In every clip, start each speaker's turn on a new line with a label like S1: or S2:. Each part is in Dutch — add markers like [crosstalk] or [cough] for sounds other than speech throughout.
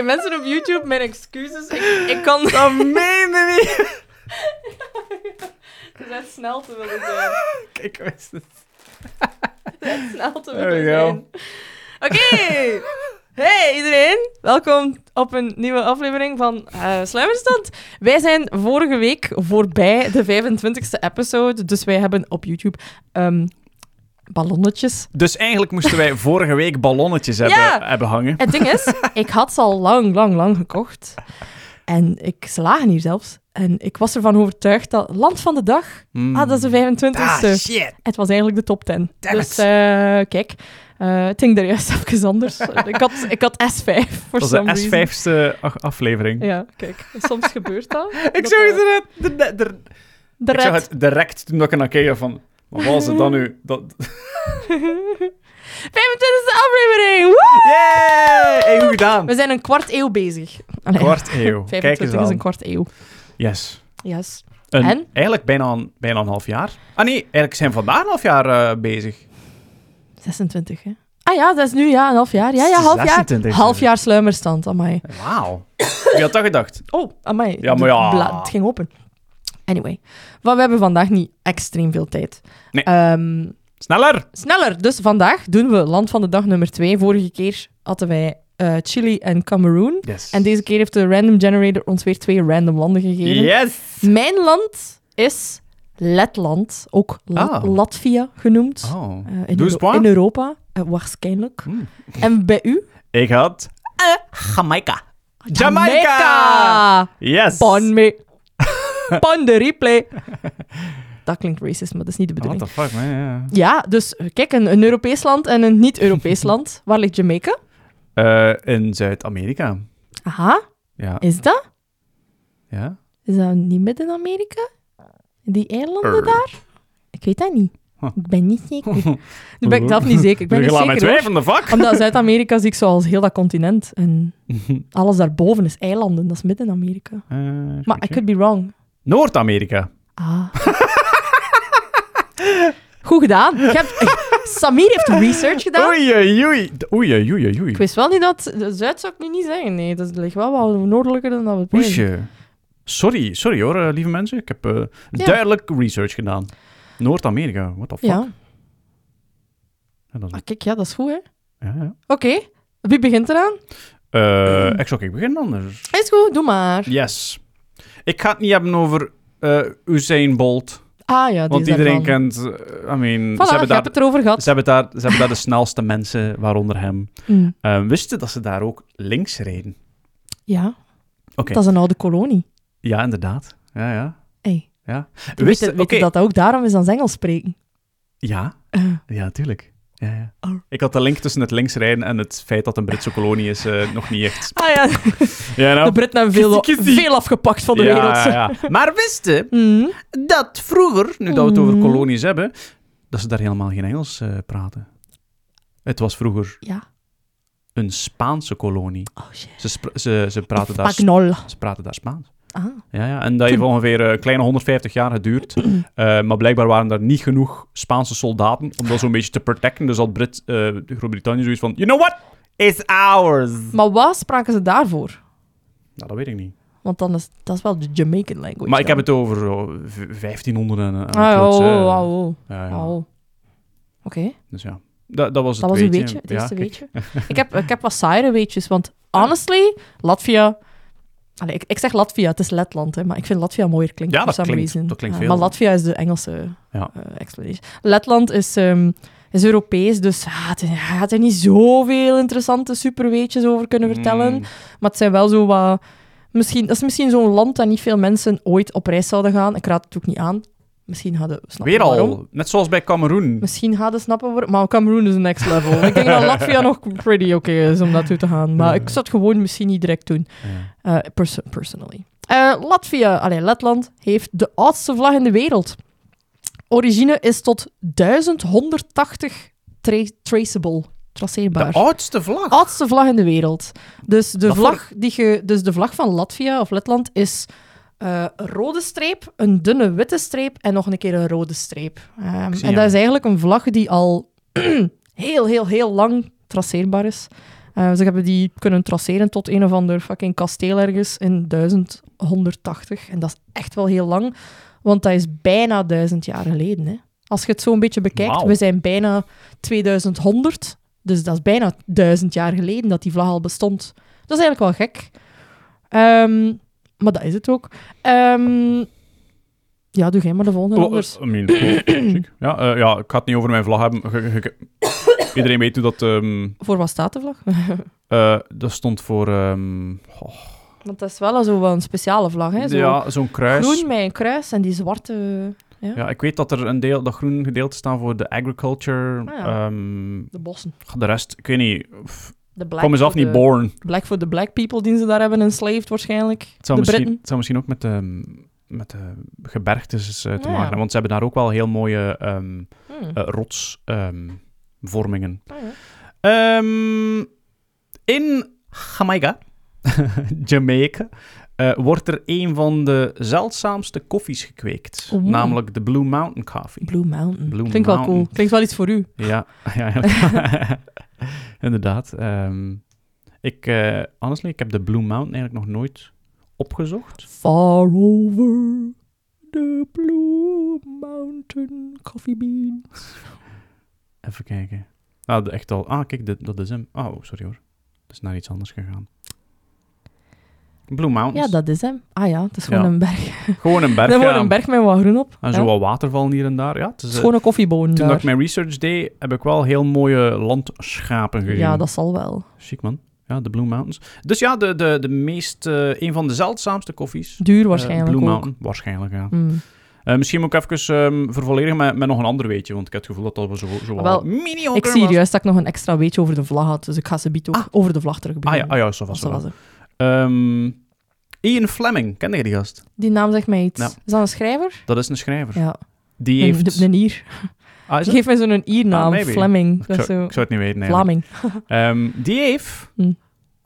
S1: [laughs] mensen op YouTube, mijn excuses. Ik, ik kan
S2: Dat meen je niet.
S1: [laughs] net snel te willen zijn.
S2: Kijk,
S1: [laughs]
S2: wist het.
S1: Snel te
S2: There
S1: willen
S2: we go.
S1: zijn. Oké! Hey iedereen! Welkom op een nieuwe aflevering van eh Sluimerstand. Wij zijn vorige week voorbij de 25e episode, dus wij hebben op YouTube ehm, ballonnetjes.
S2: Dus eigenlijk moesten
S1: [laughs]
S2: wij vorige week ballonnetjes hebben,
S1: Ja. Ah,
S2: hebben hangen.
S1: Het ding is, ik had ze al lang, lang, lang gekocht. En ik, ze lagen hier zelfs. En ik was ervan overtuigd dat Land van de Dag,
S2: Mm.
S1: ah, dat is de 25e.
S2: Ah, shit.
S1: Het was eigenlijk de top 10.
S2: Damn
S1: dus
S2: it.
S1: eh, kijk, eh, het ging er juist [laughs] even anders. ik, had, ik had S5 voor
S2: Dat
S1: some
S2: is
S1: reason.
S2: de S5ste a- aflevering.
S1: Ja, kijk, soms gebeurt dat.
S2: [laughs] Ik
S1: Dat,
S2: zag
S1: eh,
S2: het er- er- er-
S1: De
S2: Ik zag
S1: red.
S2: het direct toen ik er naar keek van... Wat was het dan nu? Dat...
S1: [laughs] 25e aflevering! Woe!
S2: Yay! Hey, goed gedaan.
S1: We zijn een kwart eeuw bezig. Allee,
S2: Kwart
S1: [laughs]
S2: eeuw. Kijk eens
S1: 25 is een
S2: aan.
S1: kwart eeuw.
S2: Yes.
S1: Yes.
S2: Een-
S1: En?
S2: Eigenlijk bijna een, bijna een half jaar. Ah nee, eigenlijk zijn we vandaag een half jaar eh, bezig.
S1: 26, hè? Ah ja, dat is nu ja, een half jaar. Ja, ja, half jaar.
S2: 26e.
S1: Half jaar sluimerstand, amai. [coughs]
S2: Wauw. Wie had dat gedacht?
S1: Oh, amai.
S2: Ja, maar ja.
S1: De bla- het ging open. Anyway. Want we hebben vandaag niet extreem veel tijd.
S2: Nee.
S1: Ehm,
S2: Sneller!
S1: Sneller. Dus vandaag doen we land van de dag nummer 2. Vorige keer hadden wij eh, Chili en Cameroen.
S2: Yes.
S1: En deze keer heeft de Random Generator ons weer twee random landen gegeven.
S2: Yes!
S1: Mijn land is Letland, ook La-
S2: Ah.
S1: Latvia genoemd.
S2: Oh.
S1: Eh, in,
S2: Doe eens
S1: Euro-
S2: poin.
S1: in Europa, eh, waarschijnlijk.
S2: Hmm.
S1: En bij u?
S2: Ik had... Jamaica.
S1: Eh, Jamaica!
S2: Yes! Oh,
S1: Pan
S2: [laughs]
S1: me. Pan de replay. Dat klinkt racist, maar dat is niet de
S2: What
S1: bedoeling.
S2: the fuck, man. ja.
S1: Ja, dus eh, kijk, een, een Europees land en een
S2: [laughs]
S1: niet-Europees land. Waar ligt Jamaica?
S2: Eh, in Zuid-Amerika.
S1: Aha,
S2: Ja.
S1: is dat?
S2: ja.
S1: Is dat niet Midden-Amerika? Die eilanden
S2: Err.
S1: daar? Ik weet dat niet.
S2: Huh.
S1: Ik ben niet
S2: [laughs]
S1: zeker. Nu ben ik zelf niet zeker. Ik ben
S2: Je
S1: niet
S2: laat mij
S1: zeker. hoor.
S2: twijfelen, de fuck?
S1: [laughs] Omdat Zuid-Amerika zie ik zoals heel dat continent.
S2: [laughs]
S1: En alles daarboven is eilanden. Dat is Midden-Amerika.
S2: Eh,
S1: Maar I could be wrong.
S2: Noord-Amerika.
S1: Ah. [laughs] Goed gedaan. Je hebt- [laughs] Samir heeft research gedaan.
S2: Oei, oei, oei. Oei, oei, oei, oei.
S1: Ik wist wel niet dat... de Zuid zou ik nu niet zeggen. Nee, dat ligt wel wat noordelijker dan dat we het weten.
S2: Oesje. eh. Sorry, sorry hoor, eh, lieve mensen. Ik heb eh,
S1: Ja.
S2: duidelijk research gedaan. Noord-Amerika, what the fuck?
S1: Ja.
S2: Ja, dat is-
S1: Ah, kijk, ja, dat is goed, hè. Oké.
S2: ja, ja.
S1: Wie begint eraan?
S2: Eh, ik zou ik beginnen anders.
S1: Is goed, doe maar.
S2: Yes. Ik ga het niet hebben over eh Usain Bolt.
S1: Ah ja, die
S2: Want
S1: is
S2: iedereen
S1: daarvan.
S2: kent... eh, I mean,
S1: Voilà,
S2: ze hebben
S1: je
S2: daar...
S1: hebt het erover gehad.
S2: Ze hebben, daar, ze hebben daar de snelste mensen, waaronder hem.
S1: Mm.
S2: Eh, wisten dat ze daar ook links reden?
S1: Ja,
S2: Oké.
S1: dat is een oude kolonie.
S2: Ja, inderdaad. Ja, ja.
S1: Hey. Weet,
S2: Wisten...
S1: je-
S2: Oké.
S1: weet je dat dat ook daarom is als Engels spreken? [laughs]
S2: Ja,
S1: Eh,
S2: ja, tuurlijk. Ja, ja.
S1: Oh.
S2: Ik had de link tussen het linksrijden en het feit dat het een
S1: [laughs]
S2: Britse kolonie is eh, nog niet echt.
S1: ah ja, [laughs]
S2: Ja,
S1: de Britten hebben veel,
S2: Kiezie, kiezie.
S1: veel afgepakt van de
S2: ja,
S1: wereld.
S2: ja, ja. Maar wisten
S1: Mm.
S2: dat vroeger, nu dat we het over
S1: Mm.
S2: kolonies hebben, dat ze daar helemaal geen Engels eh, praten. Het was vroeger
S1: Ja.
S2: een Spaanse kolonie.
S1: Oh shit.
S2: Ze, spra- ze, ze, praten, daar,
S1: Spagnol.
S2: ze praten daar Spaans.
S1: Ah.
S2: Ja, ja, en dat heeft ongeveer eh, een kleine 150 jaar
S1: [clears throat]
S2: geduurd. Eh, maar blijkbaar waren daar niet genoeg Spaanse soldaten om dat zo'n beetje te protecten. Dus had Brit, eh, Groot-Brittannië zoiets van: You know what? It's ours.
S1: Maar wat spraken ze daarvoor?
S2: Nou, dat weet ik niet.
S1: Want dan is dat is wel de Jamaican language.
S2: Maar ik heb
S1: dan.
S2: het over oh, v- 1500 en. en
S1: Ah,
S2: plots,
S1: oh,
S2: eh,
S1: oh, oh, oh.
S2: ja, ja.
S1: Oh. Oké,
S2: Dus ja, dat, dat was het
S1: dat was een weetje,
S2: weetje.
S1: het
S2: Ja,
S1: eerste
S2: kijk.
S1: weetje. Ik heb, ik heb wat saaiere weetjes, want honestly, Latvia... Allee, ik, ik zeg Latvia, het is Letland, hè, maar ik vind Latvia mooier klinken.
S2: Ja, dat
S1: for some
S2: klinkt-
S1: reason.
S2: dat klinkt
S1: Ja,
S2: veel.
S1: Maar Latvia is de Engelse
S2: Ja.
S1: eh, explanation. Letland is, ehm, is Europees, dus ah, het is- gaat er niet zoveel interessante superweetjes over kunnen vertellen.
S2: Mm,
S1: Maar het zijn wel zo wat... Misschien, dat is misschien zo'n land dat niet veel mensen ooit op reis zouden gaan. Ik raad het ook niet aan. Misschien hadden... Snap je
S2: weer al,
S1: waarom?
S2: net zoals bij Cameroen.
S1: Misschien hadden snappen worden. Maar Cameroen is next level. ik denk dat Latvia nog pretty oké is om naartoe te gaan. Maar ik zou het gewoon misschien niet direct doen.
S2: Ja.
S1: Eh, perso- personally. Eh, Latvia, allee, Letland, heeft de oudste vlag in de wereld. Origine is tot 1180 tra- traceable, traceerbaar.
S2: De oudste vlag.
S1: oudste vlag in de wereld. Dus de,
S2: Dat
S1: vlag, die ge, dus de vlag van Latvia of Letland is eh, een rode streep, een dunne witte streep en nog een keer een rode streep. Ehm,
S2: zie
S1: en
S2: hem.
S1: [clears throat] dat is eigenlijk een vlag die al heel, heel, heel lang traceerbaar is. Eh, ze hebben die kunnen traceren tot een of ander fucking kasteel ergens in 1180. En dat is echt wel heel lang, want dat is bijna 1000 jaar geleden. Hè. Als je het zo een beetje bekijkt,
S2: Wauw.
S1: we zijn bijna 2100. Dus dat is bijna 1000 jaar geleden dat die vlag al bestond. Dat is eigenlijk wel gek. Ehm, maar dat is het ook. Ehm, ja, doe jij maar de volgende
S2: Oh,
S1: anders.
S2: I
S1: [clears throat]
S2: mean, chic. ja, eh, ja, ik ga het niet over mijn vlag hebben. Ge- ge- [coughs] ge- Iedereen weet hoe dat... ehm,
S1: Voor wat staat de vlag?
S2: eh, dat stond voor... ehm, goh,
S1: Want dat is wel zo wel een speciale vlag, hè? Zo
S2: ja, zo'n kruis.
S1: groen met een kruis en die zwarte... eh,
S2: Ja, ik weet dat er een deel, dat groen gedeelte staan voor de agriculture.
S1: Ah, ja.
S2: ehm,
S1: De bossen.
S2: de rest, ik weet niet. Pff,
S1: De black
S2: kom mezelf
S1: voor
S2: niet
S1: de-
S2: born.
S1: Black voor de black people die ze daar hebben enslaved waarschijnlijk.
S2: Het zou,
S1: de
S2: misschien,
S1: Britten.
S2: het zou misschien ook met de, met de gebergtes eh, te
S1: Ah, ja.
S2: maken hebben. Want ze hebben daar ook wel heel mooie ehm
S1: Hmm.
S2: rotsvormingen.
S1: Ah, ja.
S2: Ehm, in Jamaica, [laughs] Jamaica eh, wordt er een van de zeldzaamste koffies gekweekt.
S1: Oeh.
S2: Namelijk de Blue Mountain Coffee.
S1: Blue Mountain.
S2: Blue
S1: Klinkt wel
S2: Mountain.
S1: cool. Klinkt wel iets voor u.
S2: Ja, [laughs] ja [laughs] eigenlijk. inderdaad. ehm, ik, eh honestly, ik heb de Blue Mountain eigenlijk nog nooit opgezocht.
S1: Far over the Blue Mountain Coffee Bean.
S2: Even kijken. Ah, de, echt al. Ah, kijk, dit, dat is hem. Oh, sorry hoor. Het is naar iets anders gegaan. Blue
S1: Ja,
S2: Mountains.
S1: dat is hem. Ah ja, het is gewoon
S2: Ja.
S1: een berg.
S2: Gewoon een
S1: [laughs]
S2: berg.
S1: Dat wordt
S2: ja.
S1: een berg met wat groen op.
S2: En zo
S1: ja.
S2: wat watervallen hier en daar. Ja, het is,
S1: Het
S2: eh,
S1: is gewoon een koffieboon
S2: toen dat ik
S1: daar.
S2: mijn research deed, heb ik wel heel mooie landschapen gezien.
S1: Ja, dat zal wel.
S2: Chic man. Ja, de Blue Mountains. Dus ja, de, de, de meest, eh, een van de zeldzaamste koffies.
S1: Duur
S2: Eh,
S1: waarschijnlijk
S2: Blue
S1: ook.
S2: Mountain, waarschijnlijk, ja.
S1: Hmm.
S2: Eh, misschien moet ik even ehm, vervolledigen met, met nog een ander weetje, want ik heb het gevoel dat dat wel zo, zo
S1: Wel,
S2: wat mediocre
S1: Ik zie
S2: was.
S1: hier juist dat ik nog een extra weetje over de vlag had, dus ik ga ze biet ook over de vlag terug
S2: Ah ja,
S1: beginnen.
S2: ah, ja zo vast
S1: Zo
S2: wel.
S1: was het.
S2: Ehm, Ian Fleming, kende je die gast?
S1: Die naam zegt mij iets.
S2: Ja.
S1: Is dat een schrijver?
S2: Dat is een schrijver.
S1: Ja.
S2: Die
S1: Een,
S2: heeft...
S1: een ier.
S2: Ah, is
S1: Die
S2: het?
S1: geeft mij zo'n iernaam.
S2: Ah, maybe.
S1: Fleming.
S2: Ik
S1: Dat is
S2: zou,
S1: zo.
S2: ik zou het niet weten, eigenlijk.
S1: Vlaming.
S2: Ehm, die heeft
S1: Hm.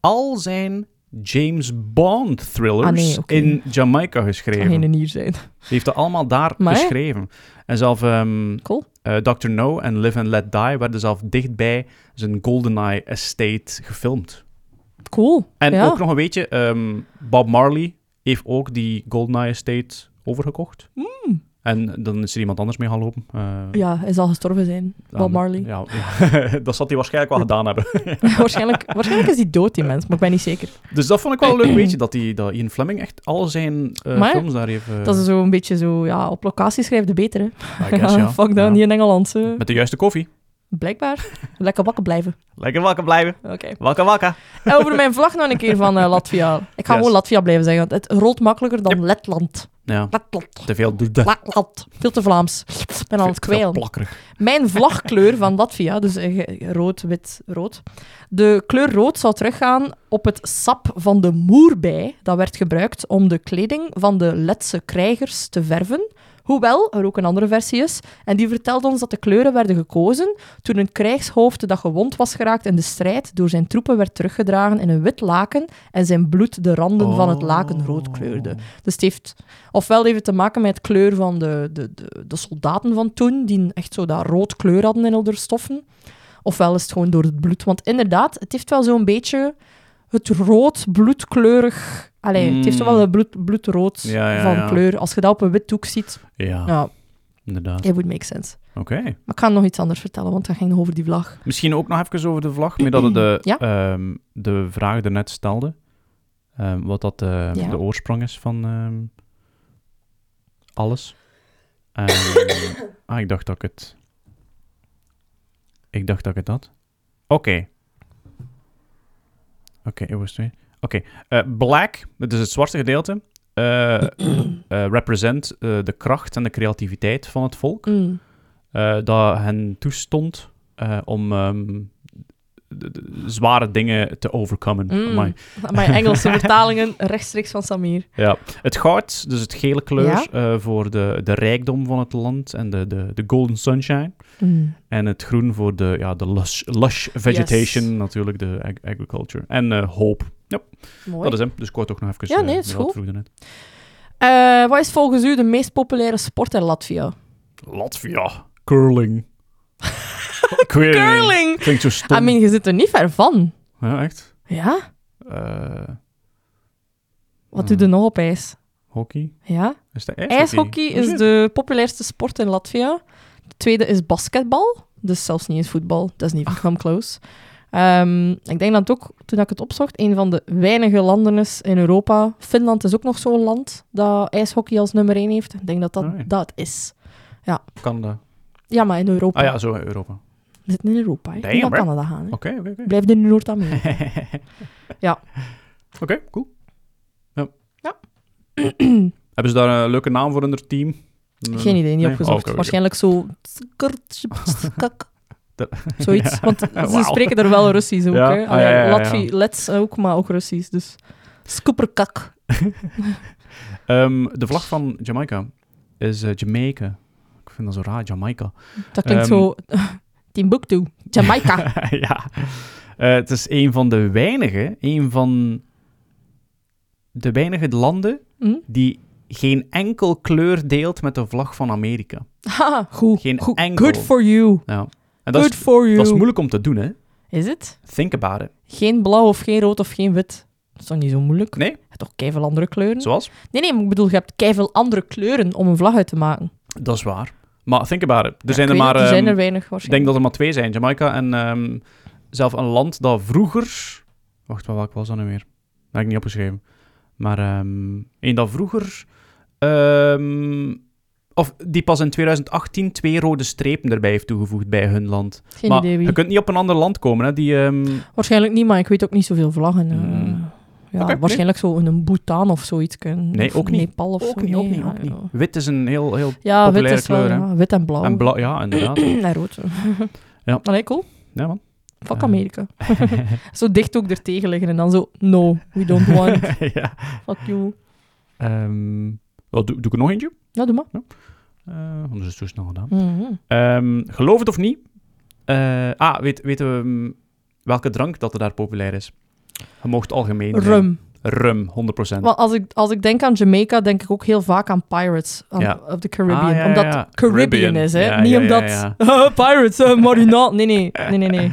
S2: al zijn James Bond thrillers
S1: Ah, nee, oké.
S2: in Jamaica geschreven.
S1: Kan geen een ier zijn.
S2: Die heeft dat allemaal daar
S1: Maar-
S2: geschreven. En zelf ehm,
S1: Cool.
S2: eh, Dr. No en Live and Let Die werden zelf dichtbij zijn GoldenEye estate gefilmd.
S1: Cool.
S2: En
S1: ja.
S2: ook nog een beetje, ehm, Bob Marley heeft ook die GoldenEye estate overgekocht. En dan is er iemand anders mee gaan lopen. Eh,
S1: Hmm. ja, hij zal gestorven zijn.
S2: aan-
S1: Bob Marley.
S2: Ja, [laughs] ja. dat zal hij waarschijnlijk wel gedaan hebben.
S1: [laughs] waarschijnlijk, waarschijnlijk is hij dood, die mens, maar ik ben niet zeker.
S2: Dus dat vond ik wel [clears throat] een leuk weetje, dat, die, dat Ian Fleming echt al zijn eh,
S1: Maar-
S2: films daar heeft... eh,
S1: Dat is zo een beetje zo, ja, op locatie schrijft de beter, hè. [laughs]
S2: I guess, ja.
S1: Fuck
S2: Ja.
S1: down, hier in Engeland. hè.
S2: Met de juiste koffie.
S1: Blijkbaar. Lekker wakker blijven.
S2: Lekker wakker blijven.
S1: Oké.
S2: Wakker wakker.
S1: En over mijn vlag nog een keer van eh, Latvia. Ik ga
S2: Yes.
S1: gewoon Latvia blijven zeggen, want het rolt makkelijker dan Letland.
S2: Ja,
S1: Letland.
S2: te veel... Te veel-
S1: Plaklat. Veel te Vlaams. Ik ben aan het
S2: te veel
S1: kwijlen.
S2: plakkerig.
S1: Mijn vlagkleur van Latvia, dus eh, ge- rood, wit, rood. De kleur rood zou teruggaan op het sap van de moerbei. Dat werd gebruikt om de kleding van de Letse krijgers te verven. Hoewel er ook een andere versie is. En die vertelt ons dat de kleuren werden gekozen toen een krijgshoofd dat gewond was geraakt in de strijd door zijn troepen werd teruggedragen in een wit laken en zijn bloed de randen van
S2: Oh.
S1: het laken rood kleurde. Dus het heeft, ofwel heeft het te maken met kleur van de, de, de, de soldaten van toen, die echt zo dat rood kleur hadden in al hun stoffen. Ofwel is het gewoon door het bloed. Want inderdaad, het heeft wel zo'n beetje het rood bloedkleurig... Allee, het heeft zo wel
S2: Mm.
S1: dat bloed, bloedrood
S2: Ja, ja,
S1: van
S2: ja.
S1: kleur. Als je dat op een wit doek ziet,
S2: Ja,
S1: ja,
S2: inderdaad.
S1: it would make sense.
S2: Oké.
S1: Maar ik ga nog iets anders vertellen, want dat ging nog over die vlag.
S2: Misschien ook nog even over de vlag, meer dat het de,
S1: Ja.
S2: ehm, de vraag daarnet stelde. Ehm, wat dat de,
S1: Ja.
S2: de oorsprong is van ehm, alles. Ehm,
S1: [coughs]
S2: ah, ik dacht dat ik het... Ik dacht dat ik het had. Oké. Oké, it was twee. Oké. eh, black, dat is het zwarte gedeelte,
S1: [coughs]
S2: eh, eh, represent eh, de kracht en de creativiteit van het volk
S1: Mm.
S2: eh, dat hen toestond eh, om ehm, de- de- zware dingen te overkomen.
S1: Mm. [laughs]
S2: Amai.
S1: Mijn Engelse vertalingen rechtstreeks van Samir.
S2: Ja. Het goud, dus het gele kleur,
S1: Ja.
S2: eh, voor de, de rijkdom van het land en de, de, de golden sunshine.
S1: Mm.
S2: En het groen voor de, ja, de lush, lush vegetation, natuurlijk, de ag- agriculture. En eh, hoop,
S1: Mooi.
S2: dat is hem. Dus kort ook nog even.
S1: Ja,
S2: eh,
S1: nee, het is
S2: wat
S1: goed.
S2: vroeg daarnet.
S1: Eh, wat is volgens u de meest populaire sport in Latvia?
S2: Latvia,
S1: [laughs]
S2: curling. Ik weet het niet.
S1: Curling!
S2: Klinkt zo stom.
S1: I mean, je zit er niet ver van.
S2: Ja, echt.
S1: Ja?
S2: Eh,
S1: Wat doe je nog op ijs?
S2: hockey?
S1: Ja?
S2: Is dat ijshockey?
S1: IJshockey
S2: Oh,
S1: is
S2: shit.
S1: de populairste sport in Latvia. De tweede is basketbal. Dus zelfs niet eens voetbal. Dat is niet
S2: Ah.
S1: van come close. Ehm, ik denk dat het ook, toen ik het opzocht, een van de weinige landen is in Europa. Finland is ook nog zo'n land dat ijshockey als nummer één heeft. Ik denk dat dat,
S2: Alright.
S1: dat is.
S2: Canada.
S1: Ja, maar in Europa.
S2: Ah ja, zo in Europa. Oké,
S1: We zitten in Europa. hè.
S2: Damn,
S1: Niet naar
S2: hè.
S1: Canada gaan. hè.
S2: oké, oké.
S1: Blijf in Noord-Amerika. [laughs] Ja.
S2: Oké, cool. Ja.
S1: Ja.
S2: [clears throat] Hebben ze daar een leuke naam voor in hun team?
S1: Geen idee, niet
S2: Nee?
S1: opgezocht.
S2: Oh, oké, oké.
S1: Waarschijnlijk zo...
S2: [laughs] Dat-
S1: Zoiets, want ze
S2: [laughs] Wauw.
S1: spreken er wel Russisch ook.
S2: Ja,
S1: Hè?
S2: ah, ja, ja, ja,
S1: Latvi,
S2: ja.
S1: Lets ook, maar ook Russisch. Dus skuperkak.
S2: Ehm, de vlag van Jamaica is eh, Jamaica. Ik vind dat zo raar, Jamaica.
S1: Dat klinkt
S2: Ehm.
S1: zo... [laughs] Timbuktu,
S2: [laughs]
S1: Jamaica.
S2: ja. Eh, het is een van de weinige, een van de weinige landen
S1: Hm?
S2: die geen enkel kleur deelt met de vlag van Amerika.
S1: Haha, goed.
S2: Geen
S1: goed.
S2: enkel.
S1: Good for you.
S2: Ja. En dat,
S1: Good
S2: is,
S1: for you.
S2: dat is moeilijk om te doen, hè?
S1: Is het?
S2: Think about it.
S1: Geen blauw of geen rood of geen wit. Dat is toch niet zo moeilijk?
S2: Nee.
S1: Je hebt toch keiveel andere kleuren?
S2: Zoals?
S1: Nee, nee, maar ik bedoel, je hebt keiveel andere kleuren om een vlag uit te maken.
S2: Dat is waar. Maar think about it. Er zijn
S1: Ik
S2: er
S1: weet
S2: maar.
S1: het, er zijn
S2: ehm,
S1: er weinig
S2: Ik denk
S1: waarschijnlijk.
S2: dat er maar twee zijn, Jamaica en ehm, zelf een land dat vroeger... Wacht, maar welk was dat nu weer? Dat heb ik niet opgeschreven. Maar ehm een dat vroeger... ehm, of die pas in 2018 twee rode strepen erbij heeft toegevoegd bij hun land.
S1: Geen
S2: maar
S1: idee wie.
S2: je kunt niet op een ander land komen, hè. Die, ehm,
S1: Waarschijnlijk niet, maar ik weet ook niet zoveel vlaggen. eh.
S2: Mm.
S1: Ja,
S2: Oké,
S1: waarschijnlijk zo in een Bhutan of zoiets. kunnen.
S2: Nee,
S1: Of
S2: ook niet.
S1: Nepal of
S2: ook
S1: zo.
S2: niet, ook
S1: Nee,
S2: niet,
S1: ja,
S2: ook
S1: ja. Oh.
S2: niet. Wit is een heel... heel
S1: Ja, wit
S2: Populaire
S1: is wel,
S2: kleur, hè?
S1: ja. Wit en blauw.
S2: en blauw... Ja,
S1: [clears throat] [laughs]
S2: inderdaad.
S1: en rood.
S2: [laughs] Ja.
S1: Allee, cool.
S2: ja, man.
S1: Fuck
S2: Ja. [laughs]
S1: Amerika. zo dicht ook er tegen liggen en dan zo... No, we don't
S2: [laughs]
S1: want. it.
S2: ja.
S1: Fuck you.
S2: Ehm, wel, doe, doe ik er nog eentje?
S1: Ja, doe maar.
S2: Eh, anders is het zo snel gedaan.
S1: Mhm.
S2: Ehm, geloof het of niet. eh, ah, weet, weten we mm, welke drank dat er daar populair is? Je mocht algemeen zijn.
S1: Rum.
S2: Rum, 100%.
S1: Want als ik, als ik denk aan Jamaica, denk ik ook heel vaak aan Pirates aan-
S2: Ja.
S1: of the Caribbean.
S2: Ah, ja, ja,
S1: Omdat
S2: ja.
S1: Caribbean,
S2: Caribbean.
S1: is, hè.
S2: Ja,
S1: Niet
S2: ja, ja,
S1: omdat... [laughs]
S2: ja.
S1: Pirates, eh, Marina. Nee, nee. Nee, nee,
S2: [laughs]
S1: nee.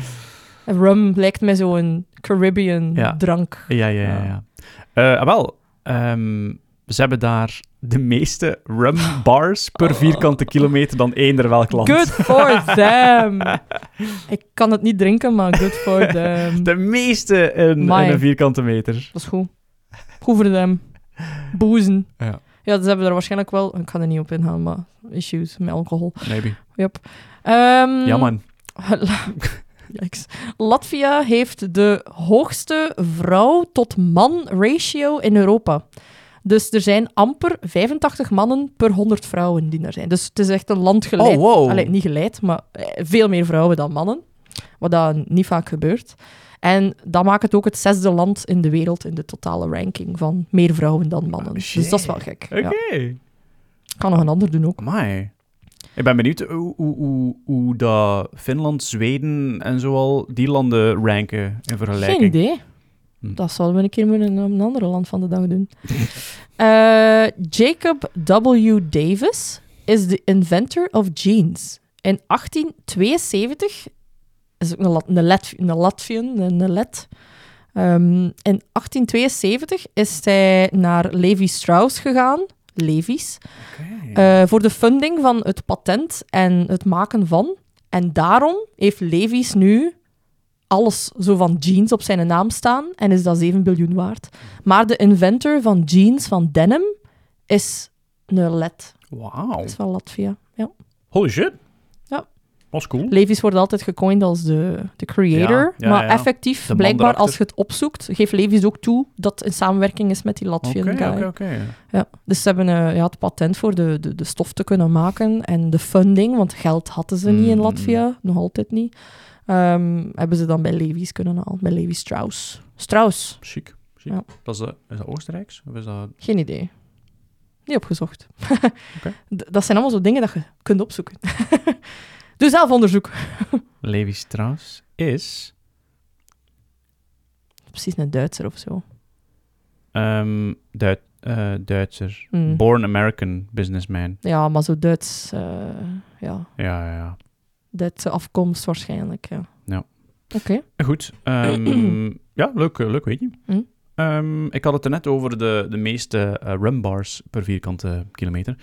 S1: Rum lijkt mij zo'n Caribbean
S2: Ja.
S1: drank.
S2: Ja, ja, ja. ja. Eh, ah, wel, ehm, ze hebben daar de meeste rum
S1: [laughs]
S2: bars per vierkante kilometer dan eender welk land.
S1: Good
S2: [laughs]
S1: for them. ik kan het niet drinken, maar good
S2: [laughs]
S1: for them.
S2: De meeste in, in
S1: Amai.
S2: een vierkante meter.
S1: Dat is goed. Goed voor them. Boezen.
S2: Ja.
S1: Ja, ze hebben er waarschijnlijk wel... Ik ga er niet op ingaan, maar issues met alcohol.
S2: Maybe.
S1: Ehm,
S2: Ja, man.
S1: [laughs] Yikes. Latvia heeft de hoogste vrouw tot man ratio in Europa. Dus er zijn amper 85 mannen per 100 vrouwen die er zijn. Dus het is echt een land geleid.
S2: Oh, wow.
S1: Allee, niet geleid, maar eh, veel meer vrouwen dan mannen. Wat dat niet vaak gebeurt. En dat maakt het ook het zesde land in de wereld in de totale ranking van meer vrouwen dan mannen.
S2: Ah,
S1: dus dat is wel gek.
S2: Oké.
S1: Ja. Kan nog een ander doen ook.
S2: Amai. Ik ben benieuwd hoe, hoe, hoe, hoe dat Finland, Zweden en zo al die landen ranken in vergelijking.
S1: Geen idee.
S2: Hm.
S1: Dat zouden we een keer moeten op een ander land van de dag
S2: [laughs]
S1: doen. Eh, Jacob W. Davis is de inventor of jeans. In 1872 is ook een, Lat, een, Latv- een Latvian, een een Let. Ehm, in 1872 is hij naar Levi Strauss gegaan, Levi's,
S2: Oké.
S1: eh, voor de funding van het patent en het maken van. En daarom heeft Levi's nu alles zo van jeans op zijn naam staan en is dat 7 biljoen waard. Maar de inventor van jeans van denim is een Let.
S2: Wauw.
S1: Dat is van Latvia. Ja.
S2: Holy shit.
S1: Ja.
S2: Was cool.
S1: Levi's wordt altijd gecoind als de, de creator.
S2: Ja, ja,
S1: maar
S2: ja.
S1: effectief,
S2: man
S1: blijkbaar,
S2: erachter.
S1: als je het opzoekt, geeft Levi's ook toe dat het in samenwerking is met die Latvian
S2: Oké,
S1: guy.
S2: oké, oké.
S1: Ja. Dus ze hebben eh, ja, het patent voor de, de, de stof te kunnen maken en de funding, want geld hadden ze niet in
S2: Mm.
S1: Latvia, nog altijd niet. Ehm, hebben ze dan bij Levi's kunnen halen, bij Levi Strauss. Strauss,
S2: Chic. chic.
S1: Ja.
S2: Dat is, de- is dat Oostenrijks? Of is dat...
S1: geen idee. Niet opgezocht. [laughs]
S2: Oké.
S1: D- Dat zijn allemaal zo dingen dat je kunt opzoeken. [laughs] Doe zelf onderzoek.
S2: Levi Strauss is...
S1: Precies een Duitser of zo.
S2: ehm, Duit- eh, Duitser.
S1: Hmm.
S2: Born American businessman.
S1: Ja, maar zo Duits, eh, ja,
S2: Ja, ja, ja.
S1: Duitse afkomst waarschijnlijk. Ja.
S2: Ja.
S1: Oké.
S2: Goed. [clears throat] ehm, ja, leuk, eh, leuk weetje.
S1: Hm.
S2: Ehm, ik had het er net over de, de meeste eh, runbars per vierkante kilometer.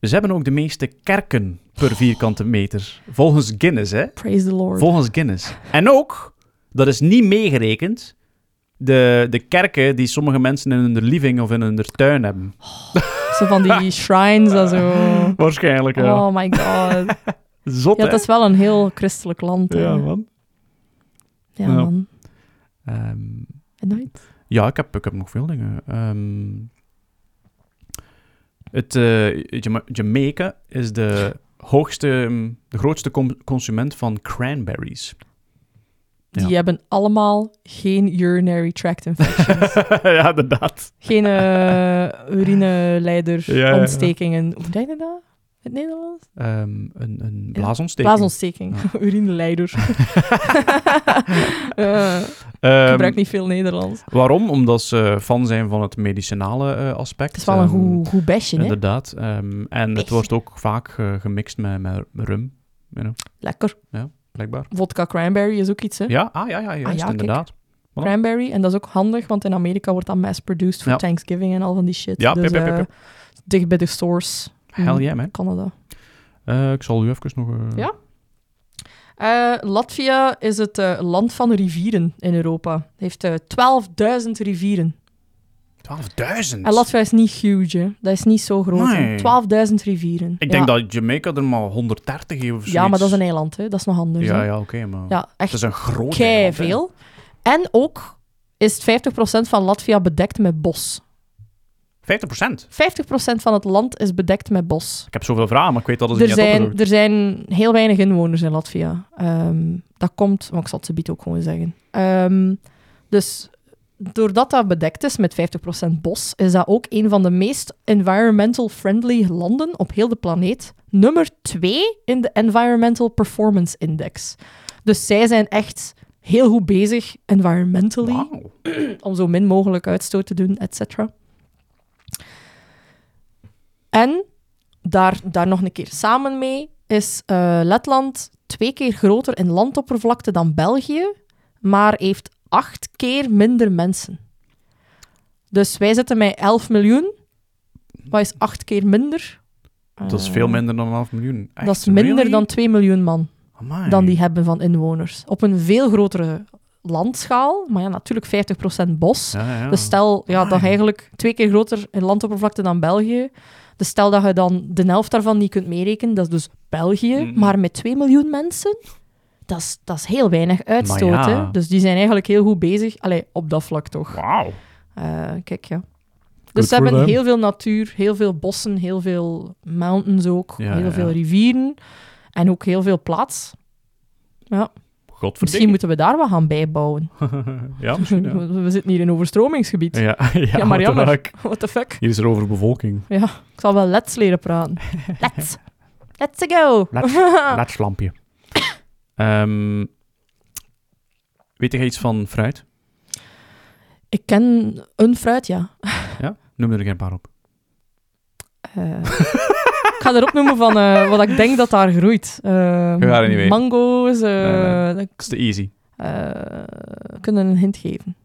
S2: Ze hebben ook de meeste kerken per vierkante meter. Volgens Guinness, hè?
S1: Praise the Lord.
S2: Volgens Guinness. En ook, dat is niet meegerekend, de, de kerken die sommige mensen in hun living of in hun tuin hebben.
S1: Zo van
S2: [laughs]
S1: die shrines en zo.
S2: Waarschijnlijk, ja.
S1: Oh my god.
S2: Zot,
S1: Ja,
S2: hè?
S1: dat is wel een heel christelijk land. hè.
S2: Ja, man.
S1: Ja,
S2: Ja.
S1: man.
S2: Ehm,
S1: En nooit.
S2: Ja, ik heb, ik heb nog veel dingen. Ehm, het, eh, Jama- Jamaica is de, hoogste, ehm, de grootste com- consument van cranberries.
S1: Die
S2: Ja.
S1: hebben allemaal geen urinary tract
S2: [laughs]
S1: infections.
S2: [laughs] ja, inderdaad.
S1: geen eh urineleider,
S2: Ja, ja, ja.
S1: ontstekingen. Hoe zeg je dat? In het Nederlands?
S2: Ehm, een, een blaasontsteking.
S1: Blaasontsteking. [laughs]
S2: Ja. [laughs]
S1: Urineleider. Eh,
S2: Ehm,
S1: ik gebruik niet veel Nederlands.
S2: Waarom? Omdat ze fan zijn van het medicinale eh, aspect.
S1: Het is wel een
S2: Ehm,
S1: goed, goed besje, hè?
S2: Inderdaad. Ehm, en het
S1: Echt.
S2: wordt ook vaak eh, gemixt met, met rum, you know,
S1: Lekker.
S2: blijkbaar.
S1: Vodka cranberry is ook iets, hè?
S2: Ja, ah, ja, ja, juist,
S1: ja, kijk.
S2: inderdaad. Voilà.
S1: Cranberry. En dat is ook handig, want in Amerika wordt dat mass-produced voor
S2: Ja.
S1: Thanksgiving en al van die shit.
S2: Ja,
S1: dus,
S2: pip, pip, pip,
S1: eh, dicht bij de source.
S2: Hell yeah, man.
S1: Canada.
S2: Eh, ik zal u even nog... eh,
S1: Ja? Eh, Latvia is het eh, land van rivieren in Europa. Het heeft eh 12.000 rivieren.
S2: 12.000?
S1: En Latvia is niet huge, hè. Dat is niet zo groot. hè.
S2: Nee.
S1: 12.000 rivieren.
S2: Ik
S1: ja.
S2: denk dat Jamaica er maar 130 heeft of zoiets.
S1: Ja, maar dat is een eiland, hè. Dat is nog anders.
S2: Ja,
S1: hè.
S2: ja, oké, maar...
S1: Ja,
S2: Het is
S1: echt
S2: een groot
S1: kei
S2: eiland, hè.
S1: veel. En ook is het 50% van Latvia bedekt met bos.
S2: 50%?
S1: 50% van het land is bedekt met bos.
S2: Ik heb zoveel vragen, maar ik weet dat het
S1: Er
S2: niet had
S1: zijn,
S2: opgezocht.
S1: er zijn heel weinig inwoners in Latvia. Ehm, dat komt, want ik zal het subiet ook gewoon zeggen. Ehm, dus doordat dat bedekt is met 50% bos, is dat ook een van de meest environmental friendly landen op heel de planeet. Nummer 2 in de Environmental Performance Index. Dus zij zijn echt heel goed bezig environmentally
S2: Wauw.
S1: om zo min mogelijk uitstoot te doen, et cetera. En daar, daar nog een keer samen mee is eh, Letland twee keer groter in landoppervlakte dan België, maar heeft acht keer minder mensen. Dus wij zitten met 11 miljoen, wat is acht keer minder?
S2: Dat is
S1: Eh,
S2: veel minder dan een half miljoen. Echt,
S1: Dat is minder
S2: really?
S1: dan 2 miljoen man
S2: Amai.
S1: dan die hebben van inwoners. Op een veel grotere landschaal, maar ja, natuurlijk 50% bos.
S2: Ja, Ah. ja, ja.
S1: Dus stel ja, dat je
S2: Amai.
S1: eigenlijk twee keer groter in landoppervlakte dan België. Dus stel dat je dan de helft daarvan niet kunt meerekenen, dat is dus België,
S2: Mhm.
S1: maar met 2 miljoen mensen, dat is, dat is heel weinig uitstoot.
S2: Maar ja.
S1: hè? Dus die zijn eigenlijk heel goed bezig. Allee, op dat vlak toch.
S2: Wauw.
S1: Eh, kijk, ja. Dus ze
S2: for
S1: hebben
S2: them.
S1: heel veel natuur, heel veel bossen, heel veel mountains ook,
S2: Ja,
S1: heel
S2: ja,
S1: veel
S2: ja.
S1: rivieren en ook heel veel plaats. Misschien
S2: [laughs] Godverdikke.
S1: moeten we daar wat gaan bijbouwen.
S2: ja, misschien,
S1: [laughs]
S2: ja.
S1: We zitten hier in een overstromingsgebied.
S2: Ja, [laughs] ja,
S1: ja maar
S2: what the
S1: jammer.
S2: fuck.
S1: What the fuck?
S2: Hier is er overbevolking.
S1: Ja, ik zal wel let's leren
S2: [laughs]
S1: praten. Let's. Let's go. [laughs]
S2: Let's.
S1: Ah.
S2: Latslampje. Ehm weet jij iets van fruit?
S1: Ik ken een fruit, ja.
S2: Ja? Noem er een paar op.
S1: Eh, ik ga erop noemen van eh, wat ik denk dat daar groeit. Eh,
S2: gaat het niet weten.
S1: mango's. eh,
S2: Nee,
S1: dat-
S2: [laughs] Dat is te easy.
S1: eh, kunnen een hint geven.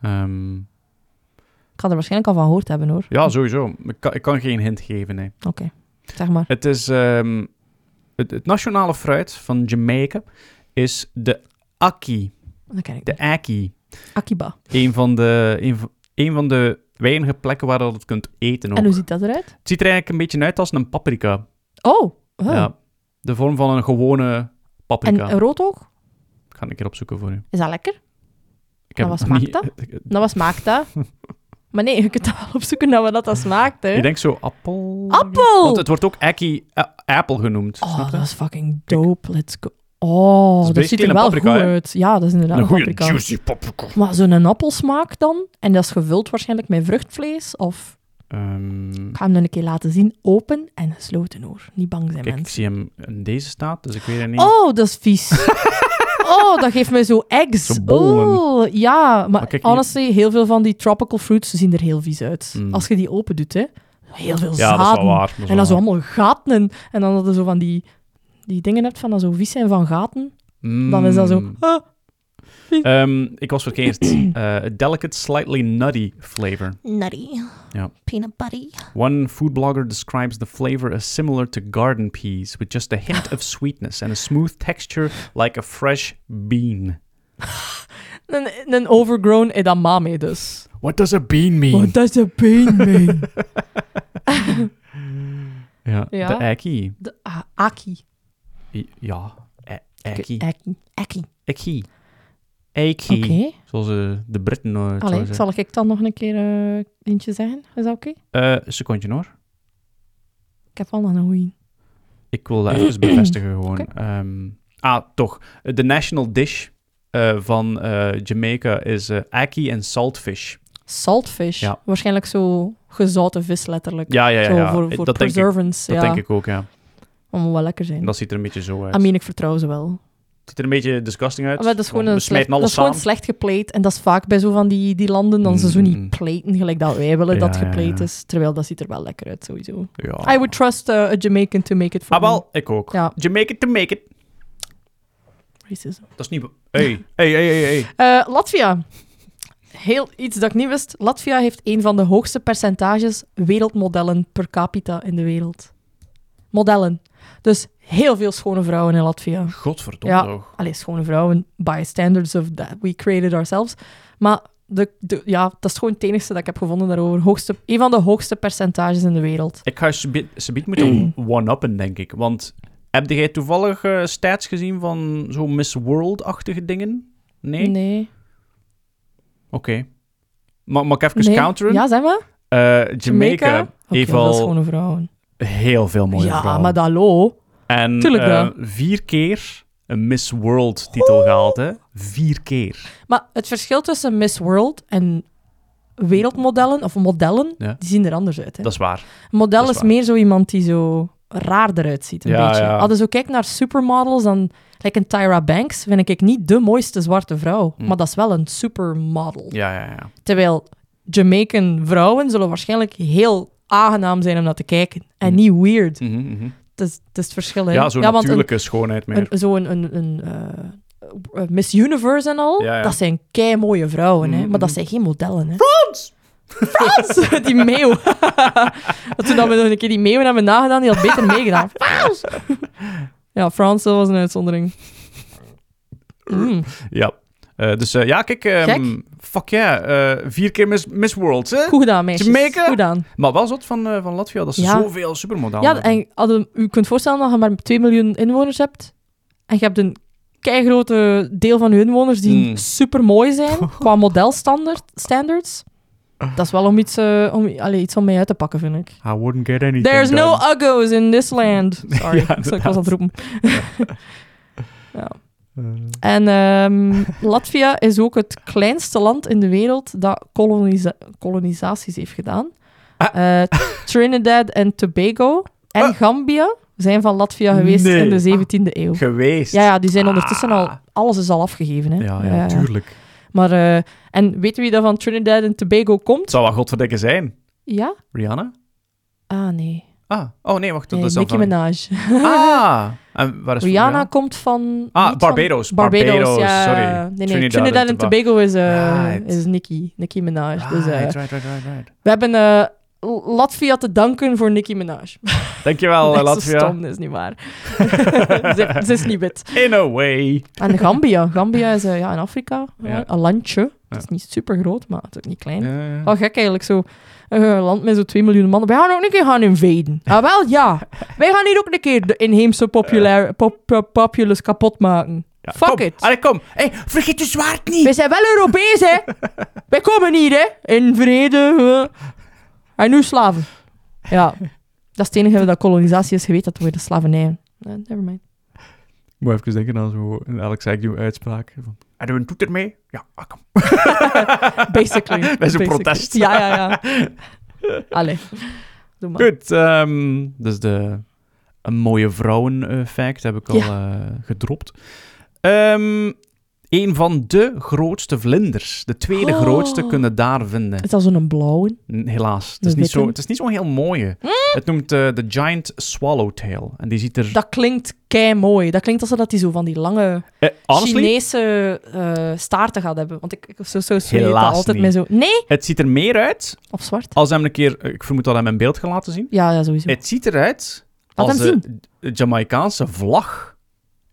S2: Ehm,
S1: Ik ga er waarschijnlijk al van gehoord hebben, hoor.
S2: ja, sowieso. Ik kan, ik kan geen hint geven, nee.
S1: Oké, zeg maar.
S2: Het is... ehm, het, het nationale fruit van Jamaica is de aki.
S1: Dat ken ik.
S2: De aki.
S1: Akiba.
S2: Een van de, een, van- een van de weinige plekken waar dat het kunt eten ook.
S1: En hoe ziet dat eruit?
S2: Het ziet er eigenlijk een beetje uit als een paprika.
S1: Oh. oh.
S2: Ja. De vorm van een gewone
S1: en eh,
S2: paprika.
S1: rood ook?
S2: Ik ga het een keer opzoeken voor u.
S1: Is dat lekker?
S2: Ik
S1: Nou, wat
S2: het
S1: smaakt
S2: niet-
S1: dat?
S2: [laughs]
S1: Nou, wat smaakt dat? maar nee, je kunt dat wel opzoeken naar wat dat, dat smaakt, hè.
S2: Ik denk zo appel.
S1: Appel!
S2: Want het wordt ook aki, a- appel genoemd.
S1: Oh,
S2: snap je?
S1: dat is fucking dope. Let's go. Oh, dat, ziet
S2: basically
S1: er
S2: een
S1: wel
S2: paprika,
S1: goed
S2: hè?
S1: uit. Ja, dat is inderdaad
S2: een goede
S1: paprika.
S2: juicy paprika.
S1: Maar zo'n appelsmaak dan, en dat is gevuld waarschijnlijk met vruchtvlees, of...
S2: Ehm,
S1: Ik ga hem dan een keer laten zien. Open en gesloten, hoor. Niet bang zijn,
S2: kijk, ik
S1: mensen.
S2: zie hem in deze staat, dus ik weet het niet.
S1: Oh, dat is vies.
S2: [laughs]
S1: oh, dat geeft me zo eggs.
S2: Zo bollen.
S1: Oh, ja, maar,
S2: Maar kijk hier.
S1: honestly, heel veel van die tropical fruits zien er heel vies uit.
S2: Mm.
S1: Als je die open doet, hè. Heel veel
S2: ja, dat is wel
S1: zaden.
S2: waar. is
S1: En
S2: wel
S1: dan zo
S2: waar.
S1: allemaal gaten. En dan dat je zo van die, die dingen hebt van dat zo vies zijn van gaten. Dan is dat zo...
S2: Mm.
S1: ah,
S2: Ehm, ik was
S1: [clears throat]
S2: verkeerd. Eh, a delicate, slightly nutty flavor.
S3: [laughs] Nutty.
S2: Ja.
S3: Peanut butty.
S2: One food blogger describes the flavor as similar to garden peas, with just a hint of sweetness and a smooth texture like a fresh bean.
S1: een, een overgrown edamame dus.
S2: What does a bean mean?
S1: Wat does a bean mean? [laughs]
S2: Ja,
S1: Ja.
S2: de ekkie.
S1: De a- aki.
S2: I- Ja, e- ekkie.
S1: Aki. Aki.
S2: Ekkie.
S1: Oké.
S2: Ekkie. Zoals eh, de Britten eh, het
S1: Allee,
S2: zouden zeggen.
S1: zal ik dan nog een keer eh eentje zeggen? Is dat oké?
S2: Eh, een secondje hoor.
S1: Ik heb al een goeie. [clears throat]
S2: Ik wil dat even bevestigen gewoon. Ehm, ah, toch. De national dish eh, van eh, Jamaica is eh ackee en saltfish.
S1: Saltfish.
S2: Ja.
S1: Waarschijnlijk zo gezouten vis, letterlijk.
S2: Ja, ja, ja.
S1: Zo
S2: ja. Eh,
S1: voor, voor
S2: dat denk ik,
S1: preservance. ja.
S2: dat denk ik ook, ja.
S1: Dat moet wel lekker zijn.
S2: En dat ziet er een beetje zo uit.
S1: I mean, ik vertrouw ze wel.
S2: Het ziet er een beetje disgusting uit.
S1: Maar dat is gewoon, een
S2: we
S1: slecht,
S2: smijten
S1: dat
S2: alles
S1: is gewoon
S2: samen.
S1: slecht gepleit. En dat is vaak bij zo van die, die landen, dan ze zo
S2: Mm.
S1: niet pleten gelijk dat wij willen dat
S2: Ja, ja,
S1: gepleit
S2: ja.
S1: is. Terwijl dat ziet er wel lekker uit, sowieso.
S2: Ja.
S1: I would trust eh, a Jamaican to make it for
S2: Oh. Ah, wel, ik ook.
S1: Ja.
S2: Jamaica to make it.
S1: me. Racism.
S2: Dat is niet... Hey, hey, hey, hey. hey.
S1: Eh, Latvia. Heel iets dat ik niet wist. Latvia heeft een van de hoogste percentages wereldmodellen per capita in de wereld. Modellen. Dus heel veel schone vrouwen in Latvia.
S2: Godverdomme
S1: Ja.
S2: toch.
S1: Allee, schone vrouwen, by standards of that we created ourselves. Maar de, de, ja, dat is gewoon het enigste dat ik heb gevonden daarover. Hoogste, een van de hoogste percentages in de wereld.
S2: Ik ga subiet moeten
S1: Mm.
S2: one-uppen, denk ik. Want heb jij toevallig eh, stats gezien van zo'n Miss World-achtige dingen? Nee?
S1: Nee.
S2: Oké. Ma- mag ik even
S1: Nee.
S2: counteren?
S1: Ja, zeg maar.
S2: Eh, Jamaica, heeft
S1: Heel veel
S2: al
S1: schone vrouwen.
S2: heel veel mooie
S1: ja,
S2: vrouwen.
S1: maar dat hallo.
S2: En
S1: Tuurlijk
S2: eh,
S1: wel.
S2: vier keer een Miss World-titel gehaald, hè? Vier keer.
S1: Maar het verschil tussen Miss World en wereldmodellen, of modellen,
S2: Ja.
S1: die zien er anders uit. Hè?
S2: Dat is waar.
S1: Een model
S2: dat
S1: is,
S2: is waar.
S1: meer zo iemand die zo raar eruit ziet, een
S2: Ja,
S1: beetje.
S2: ja.
S1: Als je zo kijkt naar supermodels, dan... Like een Tyra Banks vind ik niet de mooiste zwarte vrouw.
S2: Hm.
S1: Maar dat is wel een supermodel.
S2: Ja, ja, ja.
S1: Terwijl Jamaican vrouwen zullen waarschijnlijk heel aangenaam zijn om naar te kijken. En
S2: Hm.
S1: niet weird.
S2: Mhm, mhm.
S1: Het is, het is het verschil, hè.
S2: Ja, zo'n
S1: want een-
S2: natuurlijke schoonheid meer.
S1: een, zo een, een, een eh, eh, Miss Universe en al,
S2: Ja, ja.
S1: dat zijn kei mooie vrouwen, hè? maar dat
S2: Mhm.
S1: zijn geen modellen. Hè? Frans! Frans! [laughs] die meeuw. Dat Toen dat we nog een keer die meeuw hebben nagedaan, die had beter meegedaan. Frans! ja, Frans, dat was een uitzondering. Mm.
S2: Ja. Eh, dus eh, ja, kijk, ehm, fuck ja, yeah, eh, vier keer Miss, Miss World, hè?
S1: Goed gedaan, meisjes.
S2: Jamaica?
S1: Goed gedaan.
S2: Maar wel zot van, eh, van Latvia, dat ze
S1: Ja.
S2: zoveel supermodellen
S1: Ja,
S2: hebben.
S1: en hadden, u kunt voorstellen dat je maar 2 miljoen inwoners hebt en je hebt een keigrote deel van je inwoners die
S2: Mm.
S1: super mooi
S2: [laughs]
S1: zijn qua modelstandaard standards. Dat is wel om iets, eh, om, allee, iets om mee uit te pakken, vind ik.
S2: I wouldn't get anything
S1: There's no
S2: done.
S1: uggos in this land. Sorry,
S2: [laughs] Ja,
S1: ik was- ik was
S2: inderdaad.
S1: aan het roepen. ja.
S2: Eh.
S1: En ehm, [laughs] Latvia is ook het kleinste land in de wereld dat kolonisa- kolonisaties heeft gedaan.
S2: Ah.
S1: Eh, Trinidad en Tobago en Gambia zijn van Latvia geweest
S2: Nee.
S1: in de 17e eeuw.
S2: Geweest.
S1: Ja, ja, die zijn ondertussen
S2: Ah.
S1: al... Alles is al afgegeven, hè.
S2: Ja, ja, tuurlijk.
S1: Maar, eh, en weet wie dat van Trinidad en Tobago
S2: Het
S1: komt?
S2: zou wel godverdikke zijn.
S1: Ja?
S2: Rihanna?
S1: Ah, nee.
S2: Ah, oh nee, wacht, dat
S1: nee
S2: is dan
S1: Eh, Nicki
S2: van-
S1: Minaj.
S2: Ah, en waar is
S1: Rihanna komt van...
S2: Ah,
S1: niet van-
S2: Barbados,
S1: Barbados,
S2: Barbados,
S1: ja.
S2: sorry.
S1: Nee, nee,
S2: Trinidad
S1: Trinidad,
S2: en
S1: en Tobago is, eh,
S2: Right.
S1: is Nicki, Nicki Minaj. Dus, eh,
S2: Ah, Right, right, right, right, right.
S1: we hebben eh, Latvia te danken voor Nicki [laughs] Minaj.
S2: Dankjewel,
S1: Nee,
S2: eh,
S1: zo
S2: Latvia. [laughs]
S1: stom, dat is niet waar. [laughs] ze, ze is niet wit.
S2: In a way.
S1: En Gambia. Gambia is eh, ja, in Afrika ja, een landje. Het is niet super groot, maar het is ook niet klein.
S2: Eh,
S1: Wel gek eigenlijk, zo. eh, Een land met zo'n 2 miljoen mannen. Wij gaan ook een keer gaan [laughs] invaden. Ah, wel, ja. Wij gaan hier ook een keer de inheemse populair, pop, pop- populace kapot maken.
S2: ja,
S1: fuck
S2: kom.
S1: it.
S2: Allee, kom. Hey, vergeet je zwaard niet.
S1: Wij zijn wel Europees,
S2: [laughs]
S1: hè. Wij komen hier, hè. In vrede. eh. En nu slaven. Ja. Dat is het enige dat kolonisatie is geweten, dat we de slavernij... Eh, Never mind.
S2: Ik moet even denken aan zo'n Alex Agnew uitspraak. Van, en doe een toeter mee? Ja, ah, kom.
S1: Basically.
S2: [laughs] Dat is een
S1: Basically.
S2: protest.
S1: Ja, ja,
S2: [laughs]
S1: ja. Allee. Doe maar.
S2: Goed, ehm, dus de een mooie vrouwen eh, fact heb ik al eh gedropt. Ehm, Een van de grootste vlinders. De tweede
S1: Oh.
S2: grootste kunnen daar vinden.
S1: Het is al zo'n blauwe.
S2: N- Helaas. Het
S1: De
S2: is, niet
S1: witte.
S2: zo, het is niet zo'n heel mooie. Het noemt eh, de Giant Swallowtail. En die ziet er...
S1: Dat klinkt kei mooi. Dat klinkt alsof dat die zo van die lange
S2: Eh, honestly,
S1: Chinese eh, staarten gaat hebben. Want ik, ik zo, zo zweet dat
S2: Helaas
S1: altijd
S2: niet.
S1: met zo. Nee?
S2: het ziet er meer uit
S1: Of zwart?
S2: als hem een keer... eh, Ik vermoed dat hij hem in beeld gaat laten zien.
S1: Ja, ja sowieso.
S2: Het ziet eruit
S1: Laat
S2: als
S1: hem zien.
S2: de, de Jamaicaanse vlag.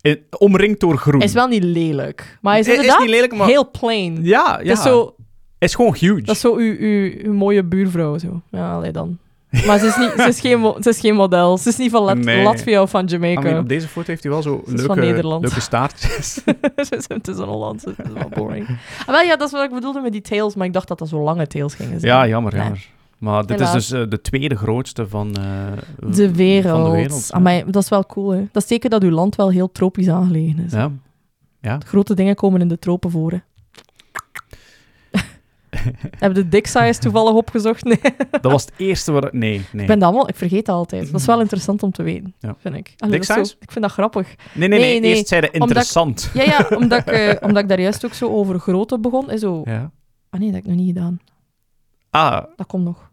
S2: Eh, omringd door groen.
S1: Is wel niet lelijk. Maar hij is
S2: Eh, is
S1: inderdaad
S2: niet lelijk, maar-
S1: heel plain.
S2: Ja, ja.
S1: Dat is zo,
S2: is gewoon huge.
S1: dat is zo uw, uw, uw mooie buurvrouw. Zo. Ja, allee dan. Maar ze is, niet, ze, is geen, mo- ze is geen model. Ze is niet van Lat-
S2: Nee.
S1: Latvia of van
S2: I mean,
S1: Jamaica.
S2: op deze foto heeft hij wel zo
S1: is van
S2: leuke,
S1: Nederland.
S2: leuke
S1: [laughs]
S2: staartjes.
S1: Ze is- het is een Hollandse. Het is wel boring. Ah, wel, ja, dat is wat ik bedoelde met die tails. Maar ik dacht dat dat zo lange tails gingen zijn.
S2: ja, jammer,
S1: Nee.
S2: jammer. Maar dit
S1: Helaas.
S2: is dus eh, de tweede grootste van, eh,
S1: De wereld.
S2: van de wereld.
S1: Amai, dat is wel cool, hè. Dat is teken dat uw land wel heel tropisch aangelegen is.
S2: Ja.
S1: Grote dingen komen in de tropen voor,
S2: [laughs]
S1: hè. Heb je de dick size toevallig opgezocht? Nee.
S2: Dat was het eerste waar... Nee, nee.
S1: Ik, ben dat allemaal, ik vergeet dat altijd. Dat is wel interessant om te weten,
S2: Mm. Ja.
S1: vind ik. Allee,
S2: Dick
S1: dat is
S2: size?
S1: zo- ik vind dat grappig.
S2: Nee, nee, nee.
S1: Nee, nee.
S2: Eerst zeiden
S1: Omdat ik-
S2: interessant.
S1: Ja,
S2: [laughs]
S1: ja omdat, ik, eh, omdat ik daar juist ook zo over grootte begon. Is zo...
S2: Ja.
S1: Ah nee, dat heb ik nog niet gedaan.
S2: Ah, [laughs]
S1: Dat komt nog.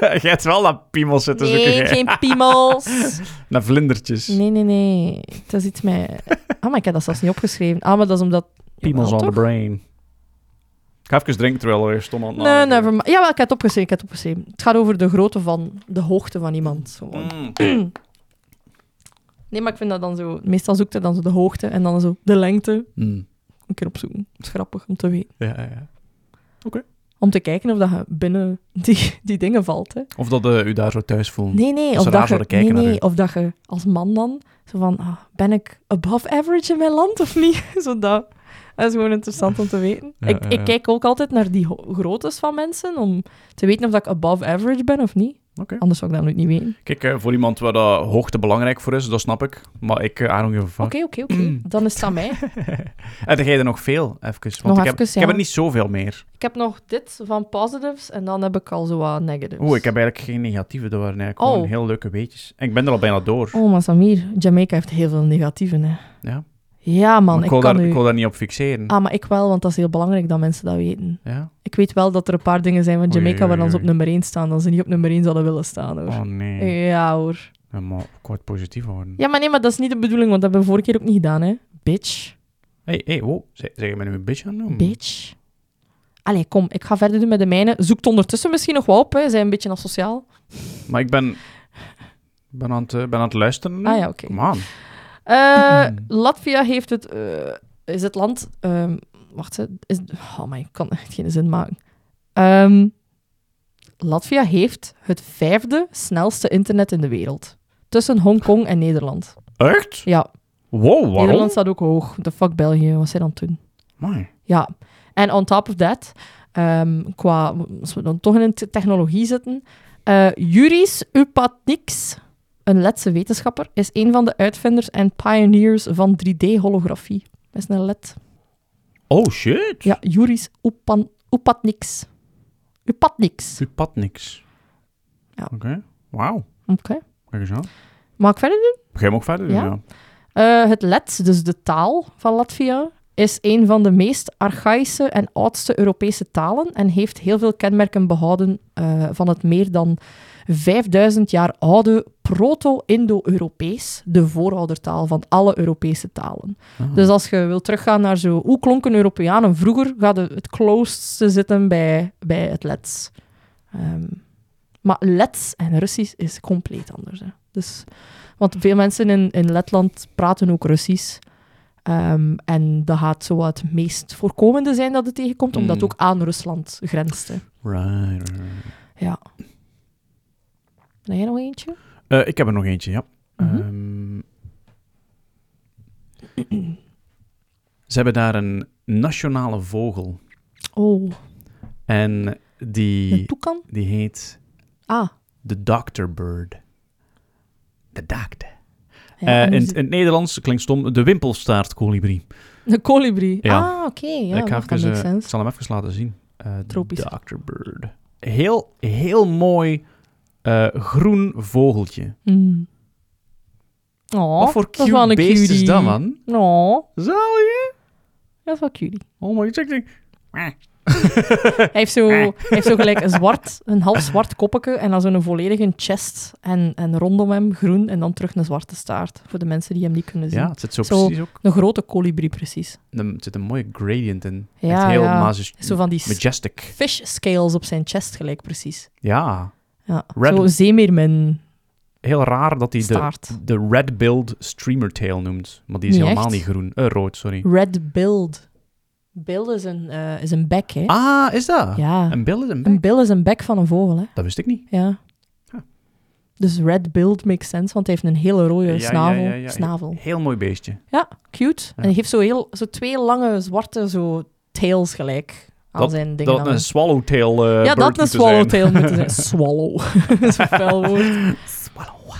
S2: jij hebt wel dat piemel zitten zoeken,
S1: Nee,
S2: jij.
S1: geen
S2: [laughs]
S1: piemels.
S2: Naar vlindertjes.
S1: Nee, nee, nee. Het is iets met... Ah, maar ik heb dat zelfs niet opgeschreven. Ah, maar dat is omdat...
S2: Piemels
S1: Jawel,
S2: on the
S1: toch?
S2: brain. Ik ga even drinken terwijl we stom aan het
S1: Nee,
S2: nadenken
S1: never mind. Jawel, ik heb het opgeschreven, ik heb het opgeschreven. Het gaat over de grootte van... De hoogte van iemand. gewoon.
S2: Mm.
S1: Nee, maar ik vind dat dan zo... Meestal zoekt hij dan zo de hoogte en dan zo de lengte.
S2: Mm.
S1: Een keer opzoeken. Het is grappig om te weten.
S2: Ja, ja, ja.
S1: Om te kijken of dat je binnen die, die dingen valt, hè.
S2: Of dat eh, u daar zo thuis voelt.
S1: Nee, nee.
S2: ze
S1: Of
S2: raar
S1: dat, je,
S2: zouden kijken
S1: nee,
S2: naar
S1: nee, of dat je als man dan zo van, ah, ben ik above average in mijn land of niet? [laughs] zo dat. Dat is gewoon interessant om te weten.
S2: Ja,
S1: ik,
S2: ja, ja.
S1: ik kijk ook altijd naar die ho- groottes van mensen om te weten of dat ik above average ben of niet.
S2: Oké.
S1: Anders zou ik dat nooit niet weten.
S2: Kijk, eh, voor iemand waar dat hoogte belangrijk voor is, dat snap ik. Maar ik, eh, I don't give a fuck.
S1: Oké, oké, oké.
S2: Mm.
S1: Dan is dat mij.
S2: [laughs] En jij er nog veel, even. Want
S1: Nog
S2: ik, heb,
S1: even,
S2: ik heb
S1: ja.
S2: er niet zoveel meer.
S1: Ik heb nog dit van positives en dan heb ik al zo wat negatives.
S2: Oeh, ik heb eigenlijk geen negatieve. Dat waren eigenlijk
S1: Oh.
S2: gewoon heel leuke weetjes. En ik ben er al bijna door.
S1: Oh, maar Samir, Jamaica heeft heel veel negatieven, hè.
S2: Ja.
S1: Ja, man,
S2: Maar
S1: ik
S2: ik, wil
S1: kan
S2: daar,
S1: u...
S2: ik wil daar niet op fixeren.
S1: Ah, maar ik wel, want dat is heel belangrijk dat mensen dat weten.
S2: Ja?
S1: Ik weet wel dat er een paar dingen zijn van
S2: Oei,
S1: Jamaica
S2: oei,
S1: waar dan ze op
S2: oei.
S1: nummer 1 staan, dan ze niet op nummer 1 zouden willen staan, hoor.
S2: Oh nee.
S1: Ja, hoor.
S2: Ja, maar ik word positief worden.
S1: Ja, maar nee, maar dat is niet de bedoeling, want dat hebben we vorige keer ook niet gedaan, hè. Bitch.
S2: hey, hey, wow. Zeg, zeg je mij nu een bitch aan het noemen?
S1: Bitch. Allee, kom, ik ga verder doen met de mijne. Zoekt ondertussen misschien nog wat op, hè. Zijn een beetje asociaal.
S2: Maar ik ben, ben, aan, het, eh, ben aan het luisteren nu.
S1: Ah ja, oké.
S2: Come on.
S1: Eh,
S2: Hmm.
S1: Latvia heeft het. eh, is het land. ehm, wacht, hè, is, oh my, ik kan echt geen zin maken. Ehm, Latvia heeft het vijfde snelste internet in de wereld. Tussen Hongkong en Nederland.
S2: Echt?
S1: Ja,
S2: Wow, waarom?
S1: Nederland staat ook hoog. De fuck België, wat zij dan toen?
S2: Amai.
S1: Ja. En on top of that, ehm, qua. Als we dan toch in de technologie zitten. eh Juris Upatniks, een Letse wetenschapper, is een van de uitvinders en pioneers van 3D-holografie. Dat is een Let.
S2: Oh, shit.
S1: Ja, Juris Upan, Upatniks. Upatniks.
S2: U pad niks.
S1: Ja.
S2: Oké. Wauw.
S1: Oké.
S2: Kijk eens aan.
S1: Mag ik verder doen?
S2: Ga je hem ook verder doen?
S1: Ja.
S2: Ja.
S1: Eh, het Let, dus de taal van Latvia, is een van de meest archaïsche en oudste Europese talen en heeft heel veel kenmerken behouden eh, van het meer dan 5000 jaar oude proto-Indo-Europees, de vooroudertaal van alle Europese talen.
S2: Ah.
S1: Dus als je wilt teruggaan naar zo, hoe klonken Europeanen vroeger, gaat het het closest zitten bij, bij het Lets. Ehm, maar Lets en Russisch is compleet anders. Hè. Dus, want veel mensen in, in Letland praten ook Russisch. Ehm, en dat gaat zo wat het meest voorkomende zijn dat het tegenkomt, omdat het
S2: Mm.
S1: ook aan Rusland grenst. Hè.
S2: Right, right, right.
S1: Ja. Heb jij nog eentje?
S2: Eh, ik heb er nog eentje, ja.
S1: Mhm.
S2: Ehm, ze hebben daar een nationale vogel.
S1: Oh,
S2: En
S1: een
S2: die,
S1: toekan?
S2: die heet
S1: Ah.
S2: de Doctor Bird. De doctor.
S1: Ja,
S2: Eh,
S1: en dus-
S2: in,
S1: hoe
S2: in
S1: ze-
S2: het Nederlands klinkt stom de wimpelstaartkolibrie.
S1: [laughs] Een kolibrie.
S2: Ja.
S1: Ah, oké. Ja,
S2: ik, ga
S1: dat makes
S2: even, eh, ik
S1: sense.
S2: zal hem even laten zien. Eh
S1: Tropisch.
S2: Dr. Bird. Heel, heel mooi eh, groen vogeltje.
S1: Mm. Oh,
S2: Wat voor
S1: dat is wel
S2: cute
S1: een
S2: beest is
S1: cutie.
S2: dat, man?
S1: Oh,
S2: Zal je?
S1: Dat is wel cutie.
S2: Oh my, check,
S1: [laughs]
S2: check.
S1: Hij heeft zo, hij heeft zo gelijk een, zwart, een half zwart koppetje en dan zo'n volledige chest en, en rondom hem groen en dan terug een zwarte staart. Voor de mensen die hem niet kunnen zien.
S2: Ja, het zit zo,
S1: Zo.
S2: precies ook.
S1: Een grote kolibrie, precies.
S2: Er zit een mooie gradient in.
S1: Ja,
S2: Echt heel
S1: ja.
S2: majest-
S1: Zo van die s-
S2: majestic.
S1: fish scales op zijn chest gelijk, precies.
S2: Ja,
S1: Ja,
S2: Red-
S1: zo zeemeermin
S2: heel raar dat hij de,
S1: staart.
S2: de red billed streamer tail noemt. Maar die is
S1: Niet
S2: helemaal
S1: echt.
S2: niet groen. Eh, rood, sorry.
S1: Red build. Bill is een, eh, is een bek, hè.
S2: Ah, is dat?
S1: ja,
S2: Een bill is een
S1: een
S2: bek?
S1: bill is een bek van een vogel, hè.
S2: Dat wist ik niet.
S1: Ja.
S2: Ja.
S1: Dus red build makes sense, want hij heeft een hele rode
S2: Ja, ja,
S1: snavel.
S2: ja, ja.
S1: snavel.
S2: Heel mooi beestje.
S1: Ja, cute. En
S2: Ja.
S1: hij heeft zo, heel, zo twee lange zwarte zo tails gelijk aan zijn dingen.
S2: Dat
S1: hangen.
S2: een swallowtail eh
S1: ja,
S2: bird
S1: dat een [laughs]
S2: moeten
S1: swallowtail moeten
S2: [laughs]
S1: zijn. Swallow. dat is een vuil woord.
S2: zijn. Swallow.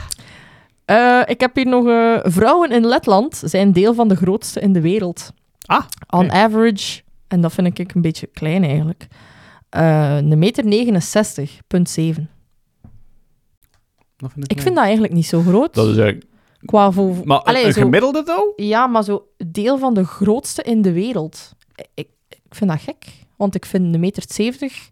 S1: Eh, ik heb hier nog... eh, vrouwen in Letland zijn deel van de grootste in de wereld.
S2: Ah,
S1: On
S2: oké.
S1: average, en dat vind ik een beetje klein eigenlijk, eh, een meter 69,7.
S2: Dat vind ik,
S1: Ik vind dat eigenlijk niet zo groot.
S2: Dat is eigenlijk...
S1: Qua vo-
S2: Maar
S1: Allee,
S2: een
S1: zo-
S2: gemiddelde, though?
S1: Ja, maar zo deel van de grootste in de wereld. Ik, ik vind dat gek, want ik vind een meter 70...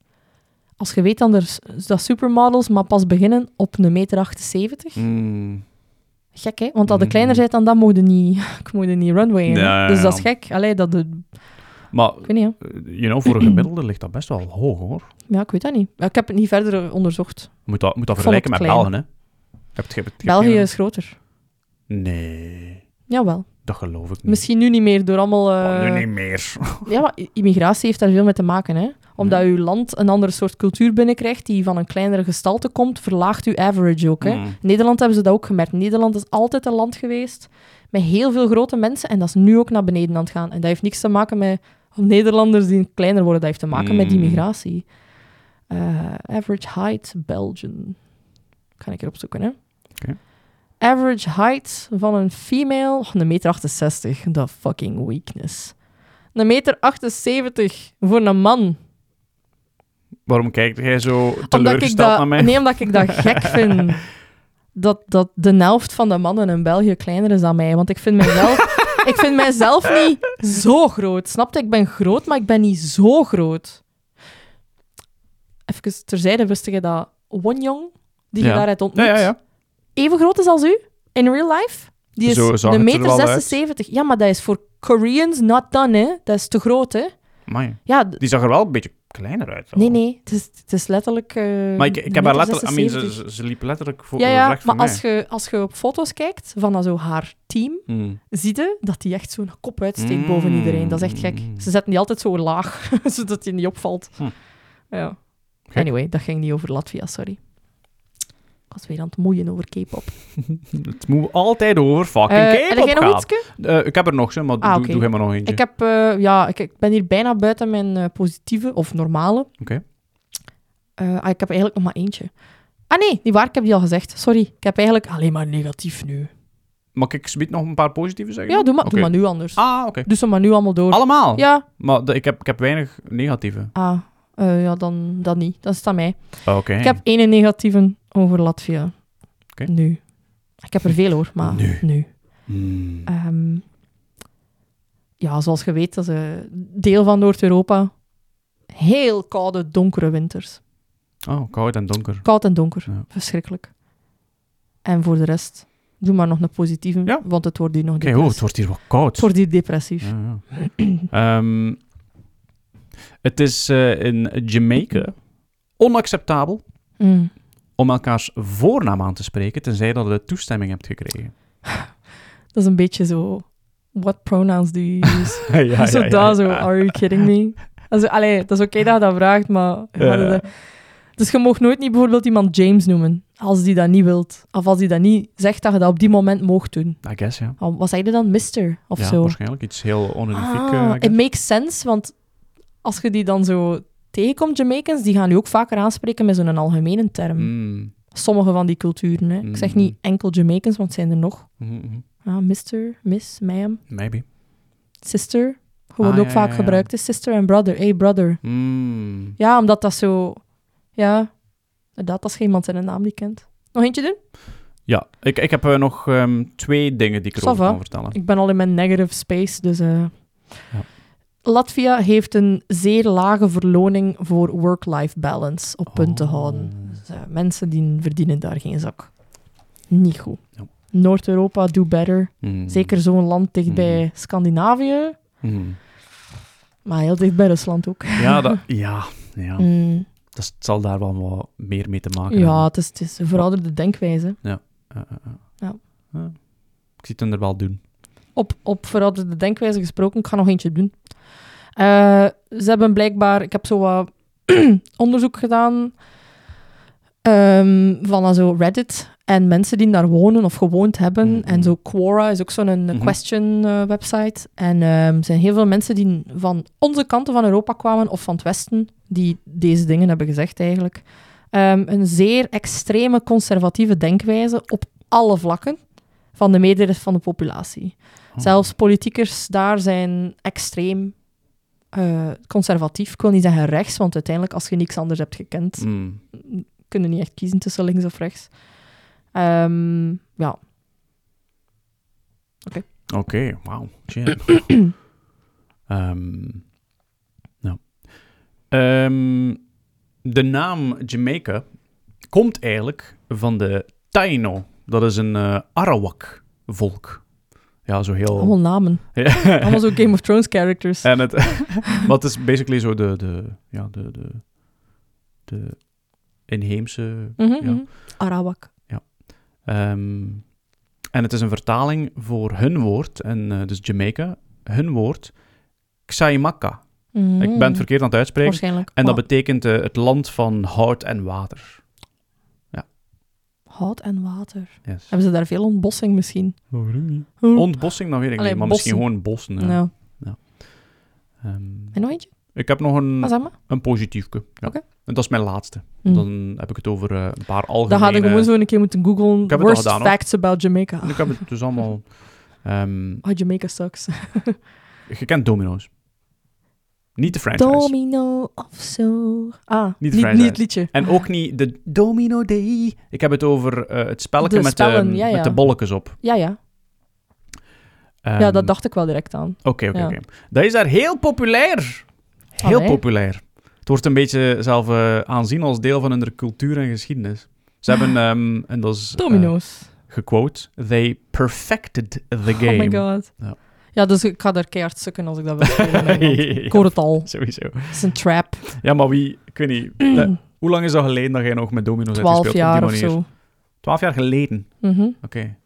S1: Als je weet dan er, s- dat supermodels maar pas beginnen op een meter 78.
S2: Mm,
S1: Gek, hè? Want als je
S2: Mhm.
S1: kleiner bent dan dat, mogen niet, [laughs] ik mocht niet runwayen. hè.
S2: Ja, ja,
S1: Dus dat
S2: ja.
S1: is gek. Allee, dat de,
S2: maar, eh,
S1: ik weet niet, hè.
S2: you
S1: [clears throat]
S2: know, voor een gemiddelde ligt dat best wel hoog, hoor.
S1: Ja, ik weet dat niet. Ik heb het niet verder eh, onderzocht.
S2: Moet dat, moet dat
S1: Ik vond het
S2: vergelijken met
S1: klein.
S2: België, hè? Heb je- heb je- heb je-
S1: België is groter.
S2: Nee,
S1: Jawel.
S2: dat geloof ik niet.
S1: Misschien nu niet meer door allemaal... eh,
S2: Mm. Oh, nu niet meer.
S1: Ja, maar i- immigratie heeft daar veel mee te maken, hè. Omdat
S2: Ja.
S1: uw land een andere soort cultuur binnenkrijgt die van een kleinere gestalte komt, verlaagt uw average ook, hè.
S2: Mm.
S1: In Nederland hebben ze dat ook gemerkt. Nederland is altijd een land geweest met heel veel grote mensen en dat is nu ook naar beneden aan het gaan. En dat heeft niks te maken met Nederlanders die kleiner worden, dat heeft te maken met die
S2: Mm.
S1: migratie. Eh, average height Belgian. Kan ik erop zoeken, hè?
S2: Oké.
S1: Average height van een female, oh, een meter 68, dat fucking weakness. Een meter 78 voor een man.
S2: Waarom kijkt jij zo
S1: Omdat ik
S2: teleurgesteld
S1: dat,
S2: naar mij?
S1: Nee, omdat ik
S2: [laughs]
S1: dat gek vind. Dat, dat de helft van de mannen in België kleiner is dan mij. Want ik vind mijzelf, ik vind mijzelf niet zo groot. Snap je? Ik ben groot, maar ik ben niet zo groot. Even terzijde wist je dat Wonjong, die
S2: Ja.
S1: je daaruit
S2: Ja,
S1: ontmoet,
S2: ja, ja.
S1: even groot is als u in real life. Die is
S2: Zo zag
S1: de
S2: het er
S1: meter
S2: wel uit.
S1: 76. Ja, maar dat is voor Koreans not done, hè. Dat is te groot, hè.
S2: Amai.
S1: Ja, d-
S2: Die zag er wel een beetje kleiner uit. wel.
S1: nee, nee. Het is, het is letterlijk... eh,
S2: Oh. Maar ik, ik
S1: de
S2: heb haar
S1: meter
S2: letterlijk... I mean,
S1: 76.
S2: ze, ze, ze liep letterlijk voor
S1: Ja, ja
S2: recht voor
S1: maar
S2: mij.
S1: als je, als je op foto's kijkt van dat zo haar team,
S2: Mm.
S1: zie je dat die echt zo'n kop uitsteekt boven
S2: Mm.
S1: iedereen. Dat is echt gek. Ze zetten die altijd zo laag, [laughs] zodat je niet opvalt.
S2: Hm.
S1: Ja.
S2: Gek.
S1: Anyway, dat ging niet over Latvia, sorry. Ik was weer aan het moeien over K-pop.
S2: Het moet altijd over fucking
S1: Eh,
S2: uh,
S1: heb jij
S2: K-pop
S1: nog
S2: gaan.
S1: ietske?
S2: Eh, ik heb er nog, zo, maar
S1: Ah,
S2: doe,
S1: oké.
S2: doe jij maar nog eentje.
S1: Ik, heb, eh, ja, ik, ik ben hier bijna buiten mijn eh, positieve of normale.
S2: Oké.
S1: Eh, ah, ik heb eigenlijk nog maar eentje. Ah nee, niet waar, ik heb die al gezegd. Sorry, ik heb eigenlijk alleen maar negatief nu.
S2: Mag ik zometeen nog een paar positieve zeggen?
S1: Ja, doe maar,
S2: Oké.
S1: doe maar nu anders.
S2: Ah, oké.
S1: Doe Dus ze maar nu allemaal door.
S2: Allemaal?
S1: Ja,
S2: Maar de- ik, heb, ik heb weinig negatieve.
S1: Ah, eh, ja, dan, dan niet. Dat is aan mij.
S2: Oké.
S1: Ik heb ene negatieve over Latvia.
S2: Oké.
S1: Nu. Ik heb er veel hoor, maar
S2: Nu.
S1: nu.
S2: Hmm.
S1: Ehm, ja, zoals je weet, dat is een deel van Noord-Europa. Heel koude, donkere winters.
S2: Oh, koud en donker.
S1: Koud en donker.
S2: Ja.
S1: Verschrikkelijk. En voor de rest, doe maar nog een positieve,
S2: Ja.
S1: want het wordt hier nog
S2: Oké,
S1: depressief.
S2: oh, het wordt hier wel koud.
S1: dus- Het wordt hier depressief.
S2: Ja, ja. Ehm, het is eh, in Jamaica onacceptabel
S1: Mm.
S2: om elkaars voornaam aan te spreken, tenzij dat je toestemming hebt gekregen.
S1: Dat is een beetje zo... What pronouns do
S2: [laughs]
S1: you use?
S2: ja, ja,
S1: zo daar, zo,
S2: Ah,
S1: are you kidding me? Also, allee, dat is oké dat je dat vraagt, maar...
S2: Ja.
S1: dat- Dus je mag nooit niet bijvoorbeeld iemand James noemen, als die dat niet wilt. Of als die dat niet zegt dat je dat op die moment mag doen.
S2: I guess, ja.
S1: Al- Wat zeg je dan, mister? ah, Of
S2: ja,
S1: zo.
S2: waarschijnlijk iets heel onherifiek. eh, I
S1: Ah,
S2: guess.
S1: it makes sense, want als je die dan zo tegenkomt, Jamaicans, die gaan je ook vaker aanspreken met zo'n algemene term.
S2: Mm.
S1: Sommige van die culturen, hè. Ik zeg
S2: Mm.
S1: niet enkel Jamaicans, want het zijn er nog.
S2: Mhm, mhm.
S1: Ah, mister, miss, ma'am,
S2: Maybe.
S1: sister. Gewoon
S2: Ah,
S1: ook
S2: ja,
S1: vaak
S2: ja, ja.
S1: gebruikt. hè. Sister en brother. Hey, brother.
S2: Mm.
S1: Ja, omdat dat zo... Ja, inderdaad, als je iemand zijn naam niet kent. Nog eentje doen?
S2: Ja, ik, ik heb eh, nog ehm, twee dingen die ik erover
S1: Ça va.
S2: kan vertellen.
S1: Ik ben al in mijn negative space, dus... eh,
S2: Ja.
S1: Latvia heeft een zeer lage verloning voor work-life balance op punt te
S2: Oh.
S1: houden. Dus, eh, mensen die verdienen daar geen zak. Niet goed.
S2: Ja.
S1: Noord-Europa, do better.
S2: Mm.
S1: Zeker zo'n land dichtbij Scandinavië,
S2: Mm.
S1: maar heel dicht bij Rusland ook.
S2: Ja, dat, ja, ja.
S1: [laughs] Mm.
S2: Dat is- het zal daar wel wat meer mee te maken
S1: Ja,
S2: hebben.
S1: het is, het is een verouderde denkwijze.
S2: Eh, eh, eh.
S1: Ja.
S2: Ja. Ik zie het hem er wel doen.
S1: Op, op verouderde denkwijze gesproken, ik ga nog eentje doen. Eh, ze hebben blijkbaar, ik heb zo wat [clears throat] onderzoek gedaan ehm, van eh, zo Reddit en mensen die daar wonen of gewoond hebben.
S2: Mhm.
S1: En zo Quora is ook zo'n eh,
S2: Mhm.
S1: question eh, website. En ehm, er zijn heel veel mensen die van onze kanten van Europa kwamen of van het Westen, die deze dingen hebben gezegd eigenlijk. Ehm, een zeer extreme conservatieve denkwijze op alle vlakken van de meerderheid van de populatie.
S2: Oh.
S1: Zelfs politiekers daar zijn extreem eh, conservatief. Ik wil niet zeggen rechts, want uiteindelijk, als je niks anders hebt gekend,
S2: Mm.
S1: kunnen niet echt kiezen tussen links of rechts. Ehm, ja,
S2: Oké, wauw.
S1: [clears throat]
S2: Shit. Ehm, nou. Ehm, de naam Jamaica komt eigenlijk van de Taino. Dat is een eh, Arawak-volk. Ja, zo heel... [laughs]
S1: allemaal namen.
S2: Ja.
S1: Allemaal zo Game of Thrones characters.
S2: En het, [laughs] maar het is basically zo de, de, ja, de, de, de inheemse...
S1: Mhm,
S2: ja.
S1: mhm. Arawak.
S2: ehm, en het is een vertaling voor hun woord, en eh, dus Jamaica, hun woord, Xaimaka.
S1: Mhm.
S2: Ik ben het verkeerd aan het uitspreken.
S1: Waarschijnlijk. Oh.
S2: En dat
S1: Maar
S2: betekent eh, het land van hout en water.
S1: Hout en water.
S2: Yes.
S1: Hebben ze daar veel ontbossing misschien?
S2: Ontbossing, dan weet ik
S1: Allee,
S2: niet, maar misschien gewoon bossen. ja.
S1: Nou,
S2: Ehm,
S1: en nog eentje?
S2: ik heb nog
S1: Ah,
S2: een,
S1: zeg maar.
S2: een positiefke. Ja.
S1: Oké.
S2: En dat Hm. is mijn laatste.
S1: Mm.
S2: Dan heb ik het over eh, een paar algemene...
S1: Dan hadden we gewoon zo een keer moeten googlen.
S2: Ik heb het al
S1: Worst
S2: gedaan, hoor.
S1: facts about Jamaica.
S2: Ik heb het dus allemaal... ehm,
S1: Oh, Jamaica sucks.
S2: je kent Domino's. Niet de franchise.
S1: Domino of zo. Ah,
S2: Niet
S1: niet,
S2: de
S1: niet,
S2: franchise.
S1: het liedje.
S2: en ook niet de Domino Day. Ik heb het over eh, het spelletje
S1: De
S2: met,
S1: spellen,
S2: de,
S1: ja, ja.
S2: met de bolletjes op.
S1: Ja, ja. ja,
S2: Ehm,
S1: dat dacht ik wel direct aan.
S2: Oké, oké,
S1: Ja.
S2: oké. Dat is daar heel populair. Heel
S1: Allee.
S2: populair. Het wordt een beetje zelf eh, aanzien als deel van hun cultuur en geschiedenis. Ze hebben,
S1: Ah.
S2: ehm, en dat is eh,
S1: Domino's.
S2: gequote, they perfected the
S1: oh
S2: game.
S1: my
S2: [laughs]
S1: god.
S2: Ja.
S1: Ja. dus ik ga daar keihard sukken als ik dat wil
S2: [laughs]
S1: spelen. hè, want Ik hoor het al.
S2: Sowieso.
S1: Het is een trap.
S2: Ja, maar wie, ik weet niet,
S1: [clears throat]
S2: eh, hoe lang is dat geleden dat jij nog met domino's hebt
S1: Twaalf
S2: gespeeld? op
S1: jaar
S2: die
S1: of
S2: manier?
S1: zo.
S2: Twaalf jaar geleden,
S1: Mhm.
S2: oké.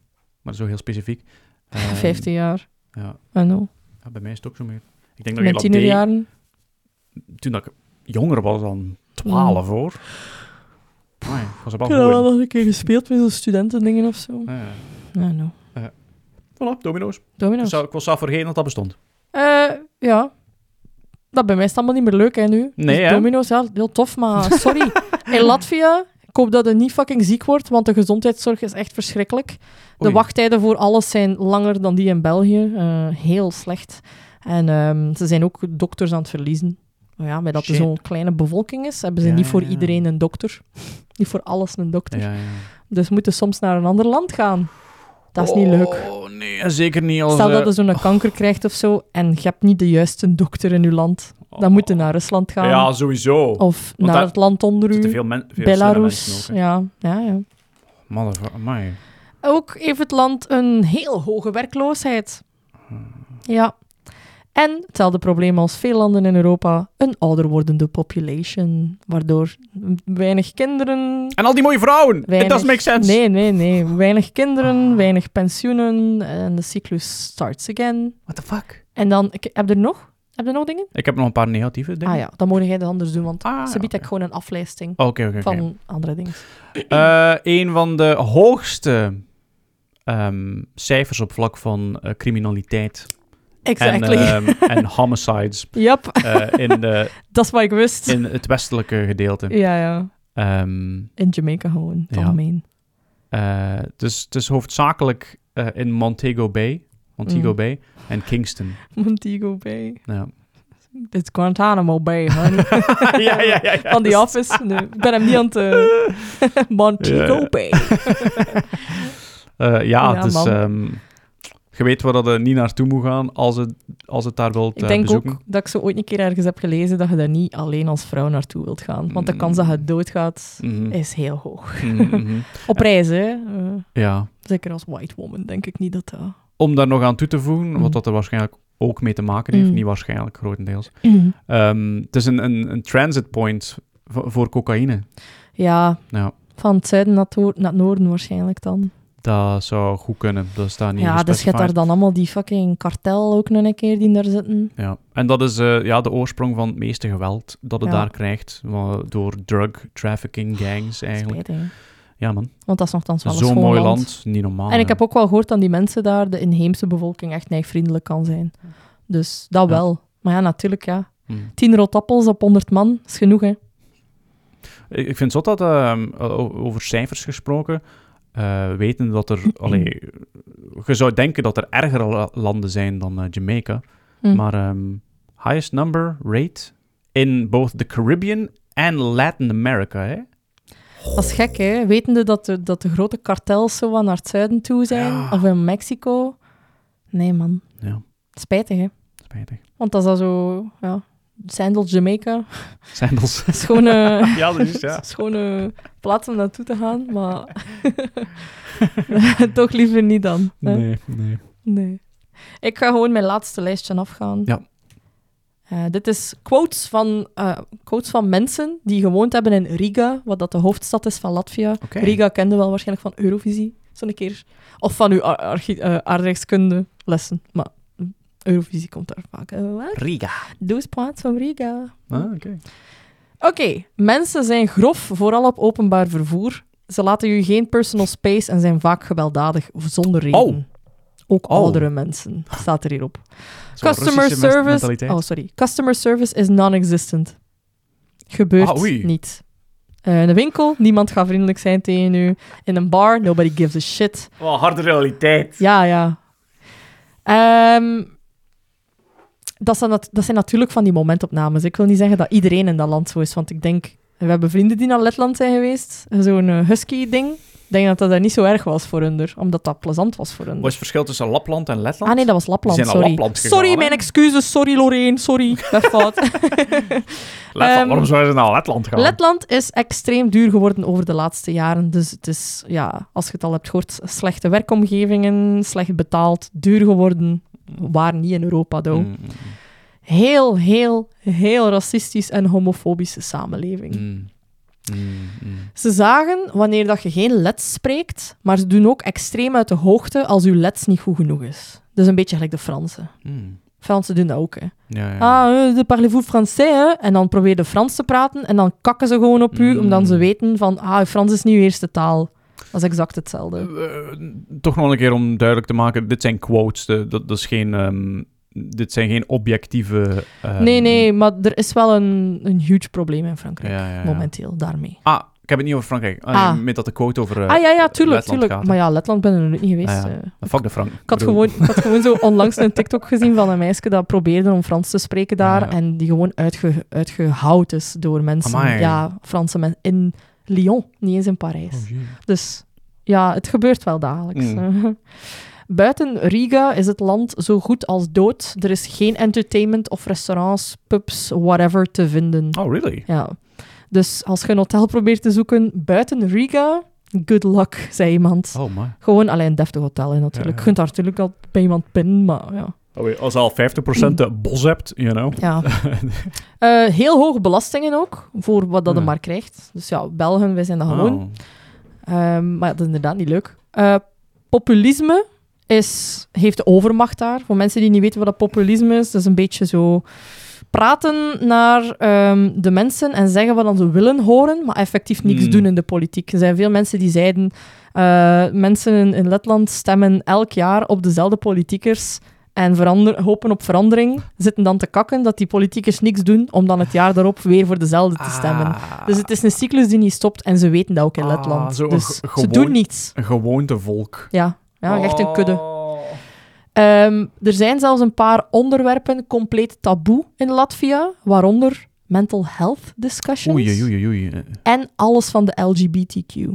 S2: Maar zo heel
S1: [laughs]
S2: specifiek. Ehm,
S1: Vijftien jaar.
S2: Ja,
S1: I know.
S2: Ja, bij mij is het ook zo meer. Ik denk dat
S1: Mijn
S2: je dat deed
S1: tienerjaren.
S2: toen dat ik jonger was dan 12
S1: Mm.
S2: hoor. Amai, ik was er wel
S1: Ik heb dat
S2: goed in.
S1: wel nog een keer gespeeld met zo'n studentendingen of zo.
S2: Ja, ja.
S1: I know.
S2: Voilà, domino's.
S1: Domino's.
S2: Ik was zelf vergeten dat dat bestond.
S1: Eh, ja. Dat bij mij is het allemaal niet meer leuk, hè, nu.
S2: Nee,
S1: Dus
S2: hè?
S1: Domino's, ja, heel tof, maar
S2: [laughs]
S1: sorry. In Latvia, ik hoop dat je niet fucking ziek wordt, want de gezondheidszorg is echt verschrikkelijk. De
S2: Oei.
S1: wachttijden voor alles zijn langer dan die in België. Eh, heel slecht. En ehm, ze zijn ook dokters aan het verliezen. Nou ja, maar dat er
S2: Shit.
S1: zo'n kleine bevolking is, hebben ze
S2: Ja,
S1: niet voor
S2: ja.
S1: iedereen een dokter. [laughs] niet voor alles een dokter.
S2: Ja, ja.
S1: Dus moeten soms naar een ander land gaan. Dat is niet leuk.
S2: Oh nee, en zeker niet als...
S1: Stel
S2: eh,
S1: dat dus- je zo'n kanker krijgt of zo en je hebt niet de juiste dokter in je land. Dan
S2: oh.
S1: moet je naar Rusland gaan.
S2: Ja, sowieso. Er
S1: of
S2: want
S1: naar
S2: daar
S1: het land onder
S2: zitten
S1: u.
S2: veel, men, veel
S1: Belarus. Ja, ja, ja.
S2: Motherfucker,
S1: Ook heeft het land een heel hoge werkloosheid.
S2: Hmm.
S1: Ja. En hetzelfde probleem als veel landen in Europa. Een ouder wordende population. Waardoor weinig kinderen...
S2: En al die mooie vrouwen! It
S1: Weinig-
S2: doesn't make sense. Ah.
S1: Nee, nee, nee. Weinig kinderen, weinig pensioenen. En de cyclus starts again.
S2: What the fuck?
S1: En dan... ik- Heb je er nog? Heb je nog dingen?
S2: Ik heb nog een paar negatieve dingen.
S1: Ah ja, dan moet jij dat anders doen, want
S2: Ah,
S1: ze
S2: ja,
S1: biedt
S2: oké.
S1: ik gewoon een aflijsting
S2: Oké, oké, oké.
S1: van andere dingen.
S2: Eh, Een van de hoogste ehm, cijfers op vlak van eh, criminaliteit
S1: Exactly.
S2: en, ehm, en homicides
S1: [laughs] yep,
S2: eh, in, de,
S1: [laughs] dat is wat ik wist.
S2: in het westelijke gedeelte.
S1: Ja, ja.
S2: Ehm,
S1: In Jamaica gewoon,
S2: Ja.
S1: ja. algemeen.
S2: Eh, dus het is hoofdzakelijk eh, in Montego Bay, Montego
S1: Mm.
S2: Bay en Kingston.
S1: Montego Bay.
S2: Ja,
S1: [laughs]
S2: [laughs]
S1: Dit is Guantanamo Bay, honey.
S2: ja, ja. ja,
S1: Van die
S2: [laughs] dus-
S1: office. Nee, ik ben hem niet aan het... eh, [laughs] Montego
S2: Ja.
S1: Bay.
S2: Eh, ja,
S1: Ja,
S2: dus
S1: man.
S2: ehm, Je weet waar dat je niet naartoe moet gaan als het, als het daar wilt
S1: Ik
S2: eh,
S1: denk
S2: bezoeken.
S1: ook dat ik zo ooit een keer ergens heb gelezen dat je daar niet alleen als vrouw naartoe wilt gaan. Want de
S2: Mm.
S1: kans dat je doodgaat
S2: Mhm,
S1: is heel hoog.
S2: mhm, mhm.
S1: Op reis, hè. Eh,
S2: Ja.
S1: zeker als white woman denk ik niet dat dat...
S2: Om daar nog aan toe te voegen,
S1: Mm.
S2: wat dat er waarschijnlijk ook mee te maken heeft,
S1: Mm.
S2: niet waarschijnlijk, grotendeels. Ehm, het is een, een, een transit point voor, voor cocaïne.
S1: Ja,
S2: Ja,
S1: van het zuiden naar het, hoor- naar het noorden waarschijnlijk dan.
S2: dat zou goed kunnen. Dat staat niet
S1: ja, dus je hebt
S2: gespecified.
S1: daar dan allemaal die fucking kartel ook nog een keer die daar zitten.
S2: Ja, en dat is eh, ja, de oorsprong van het meeste geweld dat het
S1: Ja.
S2: daar krijgt. wa- Door drug trafficking gangs eigenlijk.
S1: Spijtig, hè.
S2: Ja, man.
S1: Want dat is nogthans wel een
S2: Zo'n
S1: schoon
S2: mooi
S1: land.
S2: land, Ah, niet normaal.
S1: En
S2: hè.
S1: ik heb ook wel gehoord dat die mensen daar, de inheemse bevolking, echt neigvriendelijk kan zijn. Dus dat
S2: Ja.
S1: wel. Maar ja, natuurlijk, ja.
S2: Mm.
S1: Tien rotappels op 100 man is genoeg, hè.
S2: Ik, ik vind zot dat, ehm, o- over cijfers gesproken, eh, weten
S1: [clears throat]
S2: dat er... allee, je zou denken dat er ergere la- landen zijn dan eh, Jamaica.
S1: Hm.
S2: Maar ehm, highest number rate in both the Caribbean en Latin America, hè?
S1: Dat is gek, hè? Wetende dat de, dat de grote kartels zo wat naar het zuiden toe zijn,
S2: Ja.
S1: of in Mexico. Nee, man.
S2: Ja,
S1: Spijtig, hè?
S2: spijtig.
S1: Want dat is al zo, ja. Sandals, Jamaica. [laughs]
S2: Sandals.
S1: Schone,
S2: ja, dat is [laughs] ja.
S1: schone plaats om naartoe te gaan, maar [laughs] toch liever niet dan. hè.
S2: Nee, nee.
S1: Nee. Ik ga gewoon mijn laatste lijstje afgaan.
S2: Ja.
S1: Eh, dit is quotes van, eh, quotes van mensen die gewoond hebben in Riga, wat dat de hoofdstad is van Latvia.
S2: Oké.
S1: Riga kende wel waarschijnlijk van Eurovisie, zo'n keer. Of van uw ar- archi- eh, aardrijkskunde lessen. Maar mm, Eurovisie komt daar vaak. eh, wel.
S2: Riga.
S1: Doe plaats van Riga.
S2: Ah, oké.
S1: Oké, mensen zijn grof, vooral op openbaar vervoer. Ze laten u geen personal space en zijn vaak gewelddadig zonder reden.
S2: Oh.
S1: Ook
S2: Oh.
S1: oudere mensen, staat er hierop.
S2: Zo'n
S1: Customer
S2: Russische men-
S1: service.
S2: mentaliteit.
S1: Oh, sorry. Customer service is non-existent. Gebeurt
S2: Ah, oei.
S1: niet. Eh, in de winkel, niemand gaat vriendelijk zijn tegen u. In een bar, nobody gives a shit.
S2: Wel, harde realiteit.
S1: Ja, ja. Ehm, dat, zijn nat- dat zijn natuurlijk van die momentopnames. Ik wil niet zeggen dat iedereen in dat land zo is, want ik denk... We hebben vrienden die naar Letland zijn geweest. Zo'n eh, husky-ding. Ik denk dat dat daar niet zo erg was voor hun, omdat dat plezant was voor hun.
S2: Wat is het verschil tussen Lapland en Letland?
S1: Ah nee, dat was Lapland,
S2: Die zijn naar
S1: sorry.
S2: Lapland gegaan,
S1: sorry,
S2: hè?
S1: mijn excuses. Sorry, Loreen. Sorry, ik ben
S2: [laughs]
S1: fout.
S2: Letland,
S1: ehm,
S2: waarom zouden ze naar Letland gaan?
S1: Letland is extreem duur geworden over de laatste jaren. Dus het is, ja, als je het al hebt gehoord, slechte werkomgevingen, slecht betaald, duur geworden. Waar niet in Europa, though.
S2: Mm,
S1: Heel, heel, heel racistisch en homofobische samenleving.
S2: mm, mm, mm.
S1: Ze zagen wanneer dat je geen lets spreekt, maar ze doen ook extreem uit de hoogte als uw lets niet goed genoeg is. Dus een beetje gelijk de Fransen.
S2: Mm.
S1: Fransen doen dat ook, hè.
S2: Ja, ja.
S1: Ah, eh, de parlez-vous français, hè? En dan probeer je Frans te praten en dan kakken ze gewoon op u,
S2: Mm.
S1: omdat ze weten van, ah, Frans is niet uw eerste taal. Dat is exact hetzelfde.
S2: Eh, eh, toch nog een keer om duidelijk te maken, dit zijn quotes, de- dat, dat is geen, ehm, dit zijn geen objectieve... ehm,
S1: nee, nee, maar er is wel een, een huge probleem in
S2: Ja,
S1: Frankrijk,
S2: ja, ja.
S1: momenteel, daarmee.
S2: Ah, ik heb het niet over Frankrijk. Ah,
S1: Ah.
S2: nee, Met dat de quote over eh,
S1: ah, ja, ja, tuurlijk,
S2: Letland
S1: tuurlijk.
S2: gaat, hè.
S1: Maar ja, Letland ben ik nog niet geweest.
S2: Ah, ja.
S1: eh.
S2: Fuck de Frank.
S1: Ik had, gewoon, ik had gewoon zo onlangs een TikTok gezien van een meisje dat probeerde om Frans te spreken daar.
S2: Ja.
S1: En die gewoon uitge, uitgehoud is door mensen.
S2: Amai.
S1: Ja, Franse mensen in Lyon, niet eens in Parijs.
S2: Oh,
S1: Dus ja, het gebeurt wel dagelijks.
S2: Mm.
S1: [laughs] Buiten Riga is het land zo goed als dood. Er is geen entertainment of restaurants, pubs, whatever te vinden.
S2: Oh, really?
S1: Ja. Dus als je een hotel probeert te zoeken buiten Riga, good luck, zei iemand.
S2: Oh, man.
S1: Gewoon alleen een deftig hotel in natuurlijk.
S2: Ja, ja.
S1: Je kunt daar natuurlijk al bij iemand binnen, maar ja.
S2: Oh, als je al 50% de
S1: Mm.
S2: bos hebt, you know. [laughs]
S1: ja. Eh, heel hoge belastingen ook, voor wat dat
S2: Ja.
S1: je maar krijgt. Dus ja, Belgen, wij zijn dat gewoon.
S2: Oh.
S1: Ehm, maar dat is inderdaad niet leuk. Eh, populisme is, heeft de overmacht daar. Voor mensen die niet weten wat dat populisme is, dat is een beetje zo praten naar ehm, de mensen en zeggen wat dan ze willen horen, maar effectief niks
S2: Mm.
S1: doen in de politiek. Er zijn veel mensen die zeiden, eh, mensen in, in Letland stemmen elk jaar op dezelfde politiekers en verander, hopen op verandering, zitten dan te kakken dat die politiekers niks doen om dan het jaar daarop weer voor dezelfde te stemmen.
S2: Ah.
S1: Dus het is een cyclus die niet stopt en ze weten dat ook in
S2: Ah,
S1: Letland.
S2: zo
S1: dus
S2: ge-
S1: ze
S2: gewoon-
S1: doen niets.
S2: Een gewoontevolk.
S1: Ja, ja echt een kudde.
S2: Oh.
S1: Ehm, er zijn zelfs een paar onderwerpen compleet taboe in Latvia, waaronder mental health discussions
S2: Oei, oei, oei, oei. Eh,
S1: en alles van de LGBTQ.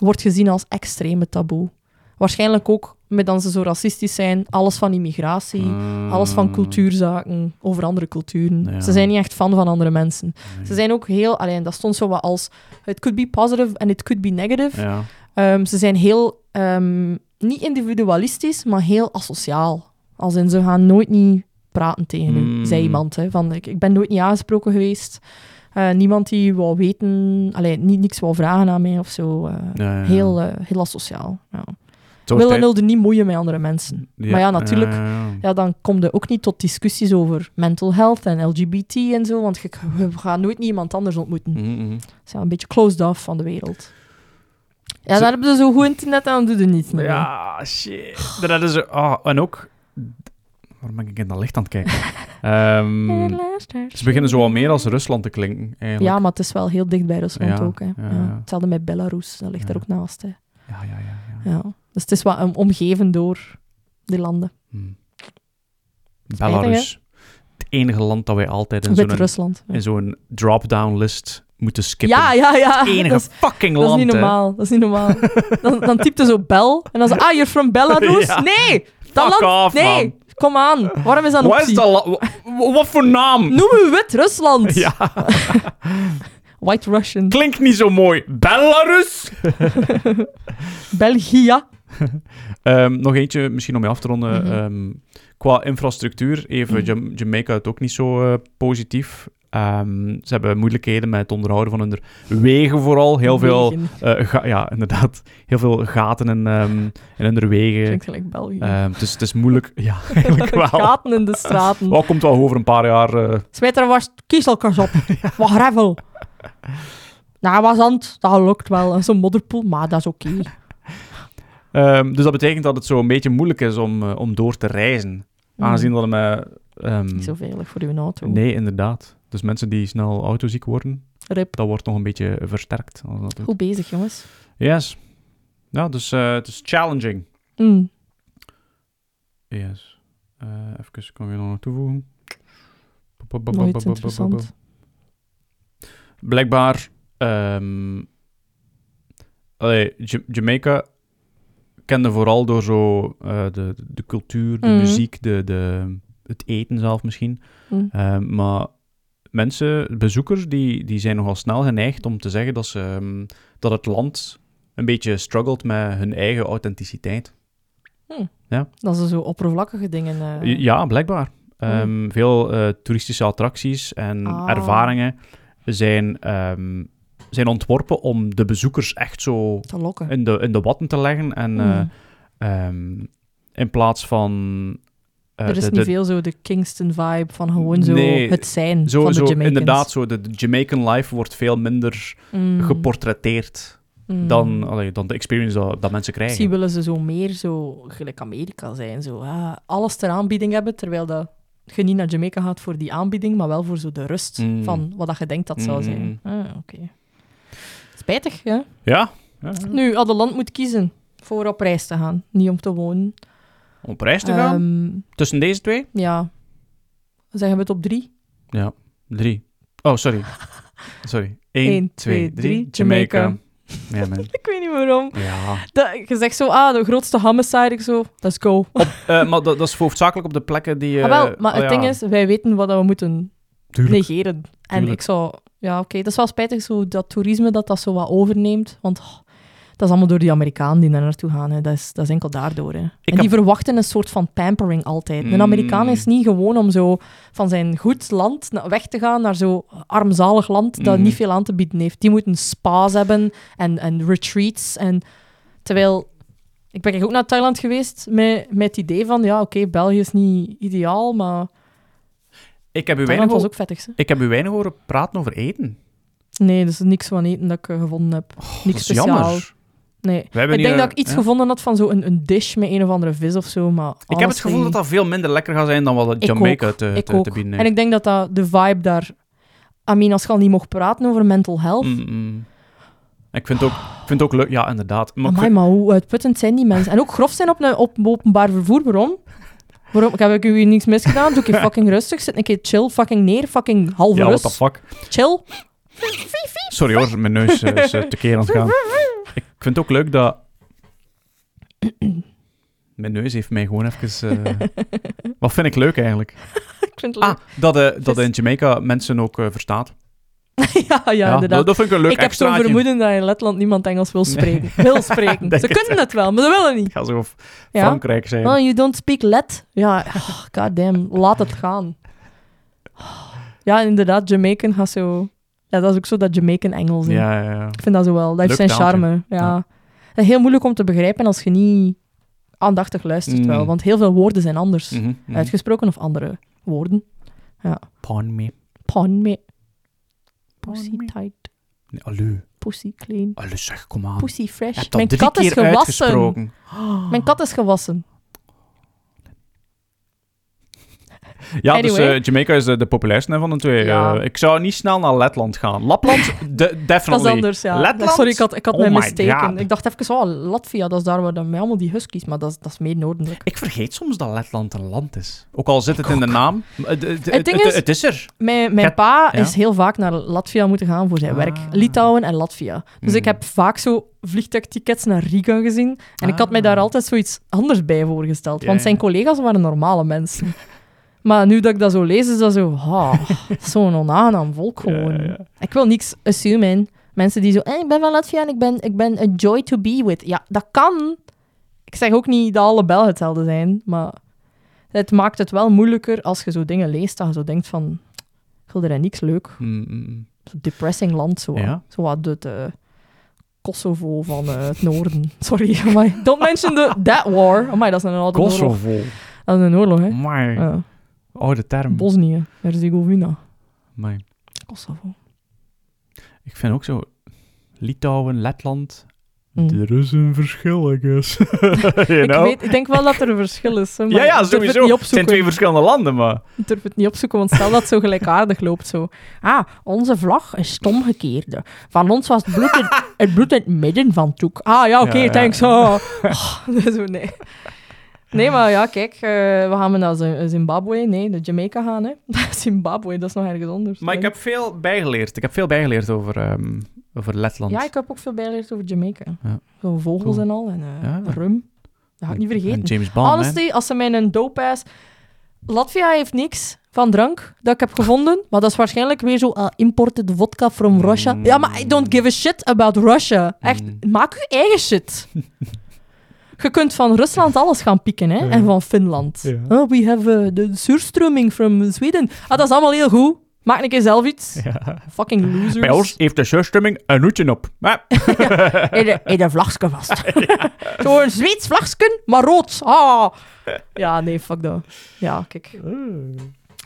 S1: Wordt gezien als extreme taboe. Waarschijnlijk ook met dan ze zo racistisch zijn. Alles van immigratie,
S2: Ah.
S1: alles van cultuurzaken, over andere culturen.
S2: Hmm. Ja.
S1: Ze zijn niet echt fan van andere mensen. Ze zijn ook heel... Alleen, dat stond zo wat als... It could be positive and it could be negative.
S2: Ja.
S1: Ehm, ze zijn heel... ehm, niet individualistisch, maar heel asociaal. Als in, ze gaan nooit niet praten tegen u,
S2: Mm.
S1: zei iemand. Hè, van, ik, ik ben nooit niet aangesproken geweest. Eh, niemand die wou weten... Allee, niet, niks wou vragen aan mij of zo. eh,
S2: Ja, ja.
S1: Heel, eh, heel asociaal. Ja.
S2: Het was
S1: Willen
S2: tijd-
S1: wilde niet moeien met andere mensen. maar ja, natuurlijk,
S2: ja, ja, ja.
S1: Ja, dan kom je ook niet tot discussies over mental health en LGBT en zo, want je, we gaan nooit iemand anders ontmoeten. Ze
S2: Mhm, mhm.
S1: zijn een beetje closed off van de wereld. Ja,
S2: Ze-
S1: daar hebben ze zo goed internet en dan doe je niets meer.
S2: Ja, shit. [sighs] Dat is er. ah, en ook. Waarom ben ik in dat licht aan
S1: [laughs]
S2: het kijken? Ehm, ze beginnen zo al meer als Rusland te klinken. Eigenlijk.
S1: Ja, maar het is wel heel dicht bij Rusland
S2: Ja,
S1: ook. Hè. Ja,
S2: ja.
S1: Hetzelfde met Belarus, dat ligt
S2: Ja.
S1: daar ook naast. Hè.
S2: Ja, ja, ja. ja.
S1: Ja. Dus het is wat um, omgeven door die landen.
S2: Hm.
S1: Spijtig,
S2: Belarus. Het enige land dat wij altijd in zo'n,
S1: Wit-Rusland. Ja.
S2: in zo'n drop-down list moeten skippen.
S1: ja, ja, ja.
S2: Het enige
S1: Dat is-
S2: fucking
S1: Dat is
S2: land.
S1: niet
S2: hè.
S1: normaal. Dat is niet normaal. dan, dan typte zo Bel en dan zo, ah, you're from Belarus?
S2: Ja.
S1: Nee! Dat
S2: Fuck
S1: land,
S2: off,
S1: nee!
S2: man.
S1: Kom aan. Waarom is dat een
S2: Wat is
S1: optie?
S2: dat la- wa- wa- Wat voor naam?
S1: Noem u Wit-Rusland.
S2: Ja,
S1: [laughs] White Russian.
S2: klinkt niet zo mooi. Belarus?
S1: Belgia.
S2: Ehm, nog eentje, misschien om je af te ronden.
S1: Mhm.
S2: Ehm, qua infrastructuur, even
S1: Mhm.
S2: Jam- Jamaica het ook niet zo eh, positief. Ehm, ze hebben moeilijkheden met het onderhouden van hun wegen vooral. Heel veel,
S1: België.
S2: eh, ga- ja, [laughs] inderdaad, heel veel gaten in, ehm, in hun wegen.
S1: Klinkt gelijk België.
S2: Ehm, dus het is moeilijk,
S1: [laughs]
S2: ja, eigenlijk [laughs] wel. Oh.
S1: Gaten in de straten.
S2: Wel komt wel over een paar jaar. eh,
S1: Smijt er wat kiezelkers
S2: [laughs]
S1: op. Wat gravel. Nou, wat zand. Dat lukt wel. En Zo'n modderpoel. Maar dat is oké.
S2: ehm, dus dat betekent dat het zo een beetje moeilijk is om, eh, om door te reizen. Aangezien dat het met... ehm,
S1: Niet Mhm. zo veilig voor uw auto.
S2: nee, inderdaad. Dus mensen die snel autoziek worden,
S1: Rip.
S2: dat wordt nog een beetje versterkt. Als dat doet.
S1: Goed bezig, jongens.
S2: Yes. Ja, dus eh, het is challenging.
S1: Mm.
S2: Yes. Eh, even, kan je nog wat toevoegen? Bop, bop, bop, bop,
S1: Nog
S2: bop,
S1: iets
S2: bop, bop, bop.
S1: interessants.
S2: Blijkbaar, ehm, allee, Ja- Jamaica kende vooral door zo eh, de, de cultuur, de
S1: Mhm.
S2: muziek, de, de, het eten zelf misschien.
S1: Mm.
S2: Ehm, maar mensen, bezoekers, die, die zijn nogal snel geneigd om te zeggen dat, ze, ehm, dat het land een beetje struggelt met hun eigen authenticiteit.
S1: Dat zijn zo oppervlakkige dingen. eh.
S2: J- Ja, blijkbaar. Ehm, Veel eh, toeristische attracties en
S1: Oh. Ah.
S2: ervaringen zijn, ehm, zijn ontworpen om de bezoekers echt zo
S1: Te lokken.
S2: in de, in de watten te leggen. En
S1: Mm.
S2: eh, ehm, in plaats van. eh,
S1: er is
S2: de-
S1: niet
S2: de-
S1: veel zo de Kingston-vibe van gewoon zo
S2: Nee,
S1: het zijn
S2: Zo,
S1: van de
S2: zo,
S1: Jamaicans.
S2: inderdaad, zo, de, de Jamaican life wordt veel minder
S1: Mm.
S2: geportretteerd
S1: Mm.
S2: dan, allee, dan de experience dat, dat mensen krijgen.
S1: Misschien willen ze zo meer zo gelijk Amerika zijn. Zo, ah, alles ter aanbieding hebben, terwijl dat je niet naar Jamaica gaat voor die aanbieding, maar wel voor zo de rust
S2: Mm.
S1: van wat dat je denkt dat zou zijn. Ah, oké. Spijtig, hè?
S2: Ja? ja. ja.
S1: Nu, had een land moet kiezen voor op reis te gaan, niet om te wonen.
S2: Om op reis te gaan?
S1: Ehm,
S2: Tussen deze twee?
S1: ja. Zeggen we het op drie? [laughs]
S2: Ja, drie. Oh, sorry. Sorry. Eén,
S1: Eén,
S2: twee,
S1: twee,
S2: drie.
S1: drie.
S2: Jamaica. Ja,
S1: [laughs]
S2: man.
S1: Ik weet niet waarom.
S2: Ja.
S1: Dat, je zegt zo, ah, de grootste homicide, ik zo, let's go.
S2: Eh, maar dat, dat is hoofdzakelijk op de plekken die... eh,
S1: Ah, wel, maar
S2: ah,
S1: het
S2: ja.
S1: ding is, wij weten wat we moeten
S2: Tuurlijk.
S1: negeren. En
S2: Tuurlijk.
S1: ik zou... Ja, oké, dat is wel spijtig, zo, dat toerisme dat dat zo wat overneemt. Want oh, dat is allemaal door die Amerikanen die daar naartoe gaan. Hè. Dat, is, dat is enkel daardoor. Hè. En
S2: heb-
S1: die verwachten een soort van pampering altijd.
S2: Mm.
S1: Een Amerikaan is niet gewoon om zo van zijn goed land na- weg te gaan naar zo'n armzalig land dat
S2: Mhm.
S1: niet veel aan te bieden heeft. Die moeten spa's hebben en, en retreats. En, terwijl... Ik ben ook naar Thailand geweest met, met het idee van, ja, oké, België is niet ideaal, maar
S2: Ik heb, u weinig
S1: Thailand was
S2: hoor-
S1: ook vettig, hè.
S2: ik heb u weinig horen praten over eten.
S1: Nee, dus niks van eten dat ik eh, gevonden heb.
S2: Oh, Dat
S1: niks
S2: is
S1: speciaal.
S2: jammer.
S1: Nee.
S2: We hebben
S1: ik denk
S2: hier-
S1: dat ik iets
S2: ja.
S1: gevonden had van zo'n een, een dish met een of andere vis of zo, maar
S2: Ik heb het gevoel dat dat veel minder lekker gaat zijn dan wat het
S1: Ik
S2: Jamaica
S1: ook.
S2: te,
S1: ik
S2: te,
S1: ook.
S2: te bieden
S1: En
S2: heeft.
S1: ik denk dat, dat de vibe daar... I mean, als je al niet mocht praten over mental health... Mm.
S2: Mm, mm. Ik vind het ook, ik vind het ook leuk... Ja, inderdaad. Maar
S1: Maar,
S2: ik vind-
S1: maar hoe uitputtend zijn die mensen? En ook grof zijn op, een, op openbaar vervoer, waarom? Waarom? Ik Heb ik u hier niks misgedaan? Doe ik
S2: [laughs]
S1: je fucking rustig, zit een keer chill, fucking neer, fucking halve
S2: ja, what the
S1: rust.
S2: fuck.
S1: Chill.
S2: Sorry hoor, mijn neus eh, is eh, tekeer aan het gaan. Ik vind het ook leuk dat... Mijn neus heeft mij gewoon even... eh, wat vind ik leuk eigenlijk?
S1: Ik vind het leuk.
S2: Ah, dat, eh, dat
S1: Vis.
S2: in Jamaica mensen ook eh, verstaat.
S1: [laughs] ja, ja, inderdaad.
S2: Dat, dat vind ik een leuk
S1: ik heb zo'n
S2: extraatje.
S1: vermoeden dat in Letland niemand Engels wil spreken.
S2: [laughs]
S1: Wil spreken.
S2: Denk
S1: Ze
S2: het
S1: kunnen het wel, maar ze willen niet.
S2: Ik ga zo of
S1: Ja.
S2: Frankrijk zijn.
S1: Oh, you don't speak Let? [laughs] Ja, oh, goddamn. Laat het gaan. Ja, inderdaad, Jamaican gaat zo... Ja, dat is ook zo dat Jamaican Engels. hè.
S2: ja, ja, ja.
S1: Ik vind dat zo wel. Dat heeft
S2: Leuk
S1: zijn charme. Ja.
S2: Ja.
S1: En Heel moeilijk om te begrijpen als je niet aandachtig luistert
S2: Mm.
S1: wel. Want heel veel woorden zijn anders.
S2: Mhm, mhm.
S1: Uitgesproken of andere woorden.
S2: Pardon me.
S1: Pan me.
S2: Pardon
S1: Pussy
S2: me.
S1: tight.
S2: Nee, allu.
S1: Pussy clean.
S2: Allu, zeg, kom aan.
S1: Pussy
S2: Je
S1: fresh.
S2: hebt dat
S1: Mijn
S2: Ah. drie
S1: kat is
S2: keer
S1: gewassen.
S2: uitgesproken.
S1: Mijn kat is gewassen.
S2: Ja, dus
S1: Anyway.
S2: eh, Jamaica is de, de populairste van de twee.
S1: Ja.
S2: Eh, ik zou niet snel naar Letland gaan. Lapland, de,
S1: Dat is
S2: definitely.
S1: anders, ja.
S2: Letland?
S1: Sorry, ik had, ik had
S2: Oh
S1: mij
S2: my
S1: mistaken.
S2: God.
S1: Ik dacht even, oh, Latvia, dat is daar waar dan met allemaal die huskies, maar dat is, dat is meer noordelijk.
S2: Ik vergeet soms dat Letland een land is. Ook al zit het in de naam. eh, d- d- Het,
S1: Het ding
S2: het-
S1: is-
S2: het is er.
S1: Mijn, mijn
S2: Ja.
S1: pa
S2: Ja.
S1: is heel vaak naar Latvia moeten gaan voor zijn
S2: Ah.
S1: werk. Litouwen en Latvia. Dus
S2: Hmm.
S1: ik heb vaak zo vliegtuigtickets naar Riga gezien. En ik had mij
S2: Ah.
S1: daar altijd zoiets anders bij voorgesteld.
S2: Ja,
S1: want
S2: ja.
S1: zijn collega's waren normale mensen. maar nu dat ik dat zo lees, is dat zo... ah, [laughs] dat is Zo'n onaangenaam volk gewoon.
S2: Ja, ja.
S1: Ik wil niks assumen. Mensen die zo, eh, ik ben van Latvia en ik ben, ik ben a joy to be with. Ja, dat kan. Ik zeg ook niet dat alle Belgen hetzelfde zijn, maar het maakt het wel moeilijker als je zo dingen leest dat je zo denkt van, ik wil er niks leuk.
S2: Mm, mm, mm.
S1: Zo'n depressing land, zo.
S2: Ja.
S1: Zo wat het eh, Kosovo van eh, het noorden. [laughs] Sorry, amai. don't mention the, that war. Amai, dat is een oude oorlog.
S2: Kosovo.
S1: Dat is een oorlog, hè.
S2: Maar
S1: Ja.
S2: oude term.
S1: Bosnië, Herzegovina,
S2: Amai.
S1: Kosovo.
S2: Ik vind ook zo... Litouwen, Letland...
S1: Mm.
S2: Er is een verschil, I guess. [laughs] You
S1: Ik,
S2: know?
S1: weet, ik denk wel dat er een verschil is. hè, maar
S2: [laughs] ja, ja,
S1: ik durf het
S2: sowieso.
S1: niet
S2: Het zijn
S1: opzoeken.
S2: twee verschillende landen, maar...
S1: Ik durf het niet opzoeken, want stel dat het zo gelijkaardig loopt. Zo. Ah, onze vlag is het omgekeerde. Van ons was het bloed
S2: [laughs]
S1: in, het, bloed in het midden van Toek. Ah ja, oké,
S2: Ja, ja,
S1: thanks.
S2: ja.
S1: Oh. Oh, [laughs] zo, nee. nee, maar ja, kijk, eh, we gaan we naar Z- Zimbabwe. Nee, naar Jamaica gaan. Hè. [laughs] Zimbabwe, dat is nog ergens anders.
S2: Maar ik heb veel bijgeleerd. Ik heb veel bijgeleerd over, ehm, over Letland.
S1: Ja, ik heb ook veel bijgeleerd over Jamaica.
S2: Ja.
S1: Zo vogels
S2: Cool.
S1: en al, en eh,
S2: Ja.
S1: rum. Dat ga ik niet vergeten.
S2: En James Bond, hè.
S1: Honestly, als ze mij een dope ass... Latvia heeft niks van drank dat ik heb gevonden. Maar dat is waarschijnlijk weer zo ah, imported vodka from Russia.
S2: Mm.
S1: Ja, maar I don't give a shit about Russia. Echt,
S2: Mm.
S1: maak je eigen
S2: [laughs]
S1: shit. Je kunt van Rusland alles gaan pikken, hè?
S2: Ja.
S1: En van Finland.
S2: Ja.
S1: Oh, we have eh, the suurstroming from Sweden. Ah, dat is allemaal heel goed. Maak een keer zelf iets.
S2: Ja.
S1: Fucking losers.
S2: Bij ons heeft de zuurstemming een hoedje op. Maar,
S1: In een, in een vlagske vast. Zo'n Zweeds vlagske, maar rood. Ah. Ja, nee, fuck dat. Ja, kijk.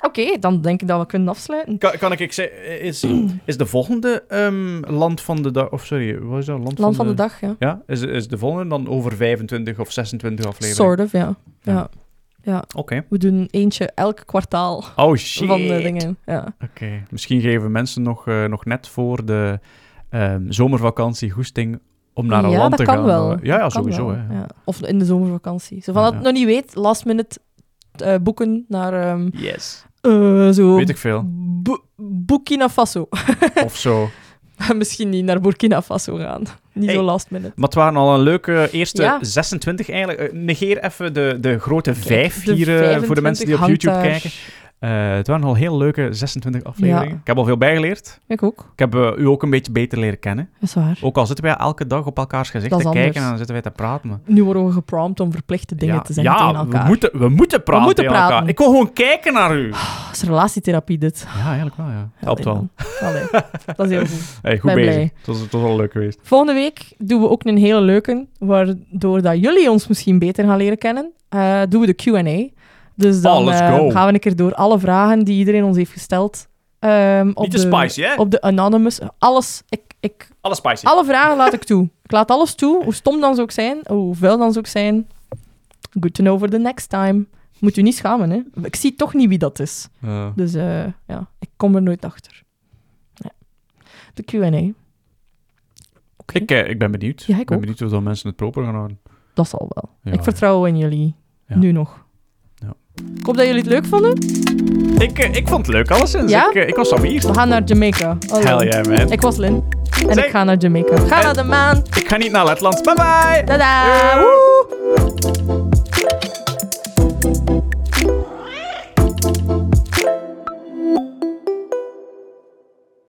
S1: Oké, dan denk ik dat we kunnen afsluiten.
S2: kan, kan ik, ik zeggen, is, is de volgende ehm, land van de dag... Of sorry, wat is dat? Land,
S1: Land van de dag, ja.
S2: Ja, is, is de volgende dan over 25 of 26 afleveringen?
S1: Sort of, ja.
S2: Ja.
S1: ja.
S2: Oké.
S1: We doen eentje elk kwartaal
S2: Oh, shit.
S1: van de dingen. Ja.
S2: Oké. Misschien geven mensen nog, eh, nog net voor de ehm, zomervakantie goesting om naar een
S1: Ja,
S2: land
S1: dat
S2: te
S1: kan
S2: gaan.
S1: wel.
S2: Ja, ja
S1: Kan
S2: sowieso.
S1: wel,
S2: Hè.
S1: ja. Of in de zomervakantie. Zo van
S2: Ja,
S1: dat
S2: ja.
S1: het nog niet weet, last minute eh, boeken naar ehm,
S2: Yes.
S1: eh, zo...
S2: Weet ik veel.
S1: Bu- Burkina Faso. [laughs]
S2: Of zo.
S1: Misschien niet naar Burkina Faso gaan. Niet
S2: Hey.
S1: zo last minute.
S2: Maar het waren al een leuke eerste
S1: Ja.
S2: 26 eigenlijk. Eh, Negeer even de, de grote
S1: Kijk,
S2: vijf
S1: de
S2: hier eh, voor de mensen die op
S1: 25
S2: YouTube
S1: hangt daar.
S2: kijken. Eh, het waren al heel leuke 26 afleveringen.
S1: Ja.
S2: Ik heb al veel bijgeleerd.
S1: Ik ook.
S2: Ik heb eh, u ook een beetje beter leren kennen.
S1: Dat is waar.
S2: Ook al zitten wij elke dag op elkaars gezicht
S1: Dat
S2: te
S1: is
S2: kijken
S1: anders.
S2: en dan zitten wij te praten. Maar...
S1: Nu worden we geprompt om verplichte dingen
S2: ja,
S1: te zeggen
S2: ja,
S1: tegen elkaar.
S2: We, moeten, we moeten praten
S1: moeten
S2: tegen elkaar.
S1: praten.
S2: Ik wil gewoon kijken naar u.
S1: Oh, Dat is relatietherapie, dit.
S2: Ja, eigenlijk wel, ja. Helpt
S1: Allee,
S2: wel.
S1: man. Allee, dat is heel goed.
S2: [laughs]
S1: [laughs]
S2: Hey, goed
S1: Ben
S2: bezig.
S1: blij.
S2: Het was, het was wel leuk geweest.
S1: Volgende week doen we ook een hele leuke, waardoor dat jullie ons misschien beter gaan leren kennen. Eh, doen we de Q&A. Dus dan
S2: Oh, let's
S1: eh,
S2: go.
S1: gaan we een keer door alle vragen die iedereen ons heeft gesteld. ehm, op
S2: Niet te spicy, hè?
S1: Op Ah. de Anonymous. Alles. Ik, ik,
S2: Alles spicy.
S1: alle vragen laat ik toe. Ik laat alles toe, hoe stom dan ze ook zijn, hoe vuil dan ze ook zijn. Good to know for the next time. Moet u niet schamen, hè. Ik zie toch niet wie dat is.
S2: Eh,
S1: Dus eh, ja, ik kom er nooit achter. Ja. De Q&A. Oké,
S2: ik, eh, ik ben benieuwd.
S1: Ja, ik
S2: ben
S1: ook.
S2: benieuwd of dat mensen het proper gaan houden.
S1: dat zal wel.
S2: Ja,
S1: ik
S2: ja.
S1: vertrouw in jullie.
S2: Ja.
S1: Nu nog.
S2: Ja.
S1: Ik hoop dat jullie het leuk vonden.
S2: Ik, eh, ik vond het leuk, alleszins.
S1: Ja?
S2: Ik, eh, ik was al hier.
S1: We gaan naar Jamaica. Hallo.
S2: Hell yeah, man. Ik,
S1: Ik was Lin. En
S2: Zeg-
S1: ik ga naar Jamaica. Ga
S2: En-
S1: naar de maan.
S2: ga niet naar Letland. Bye bye!
S1: Tada! Woe!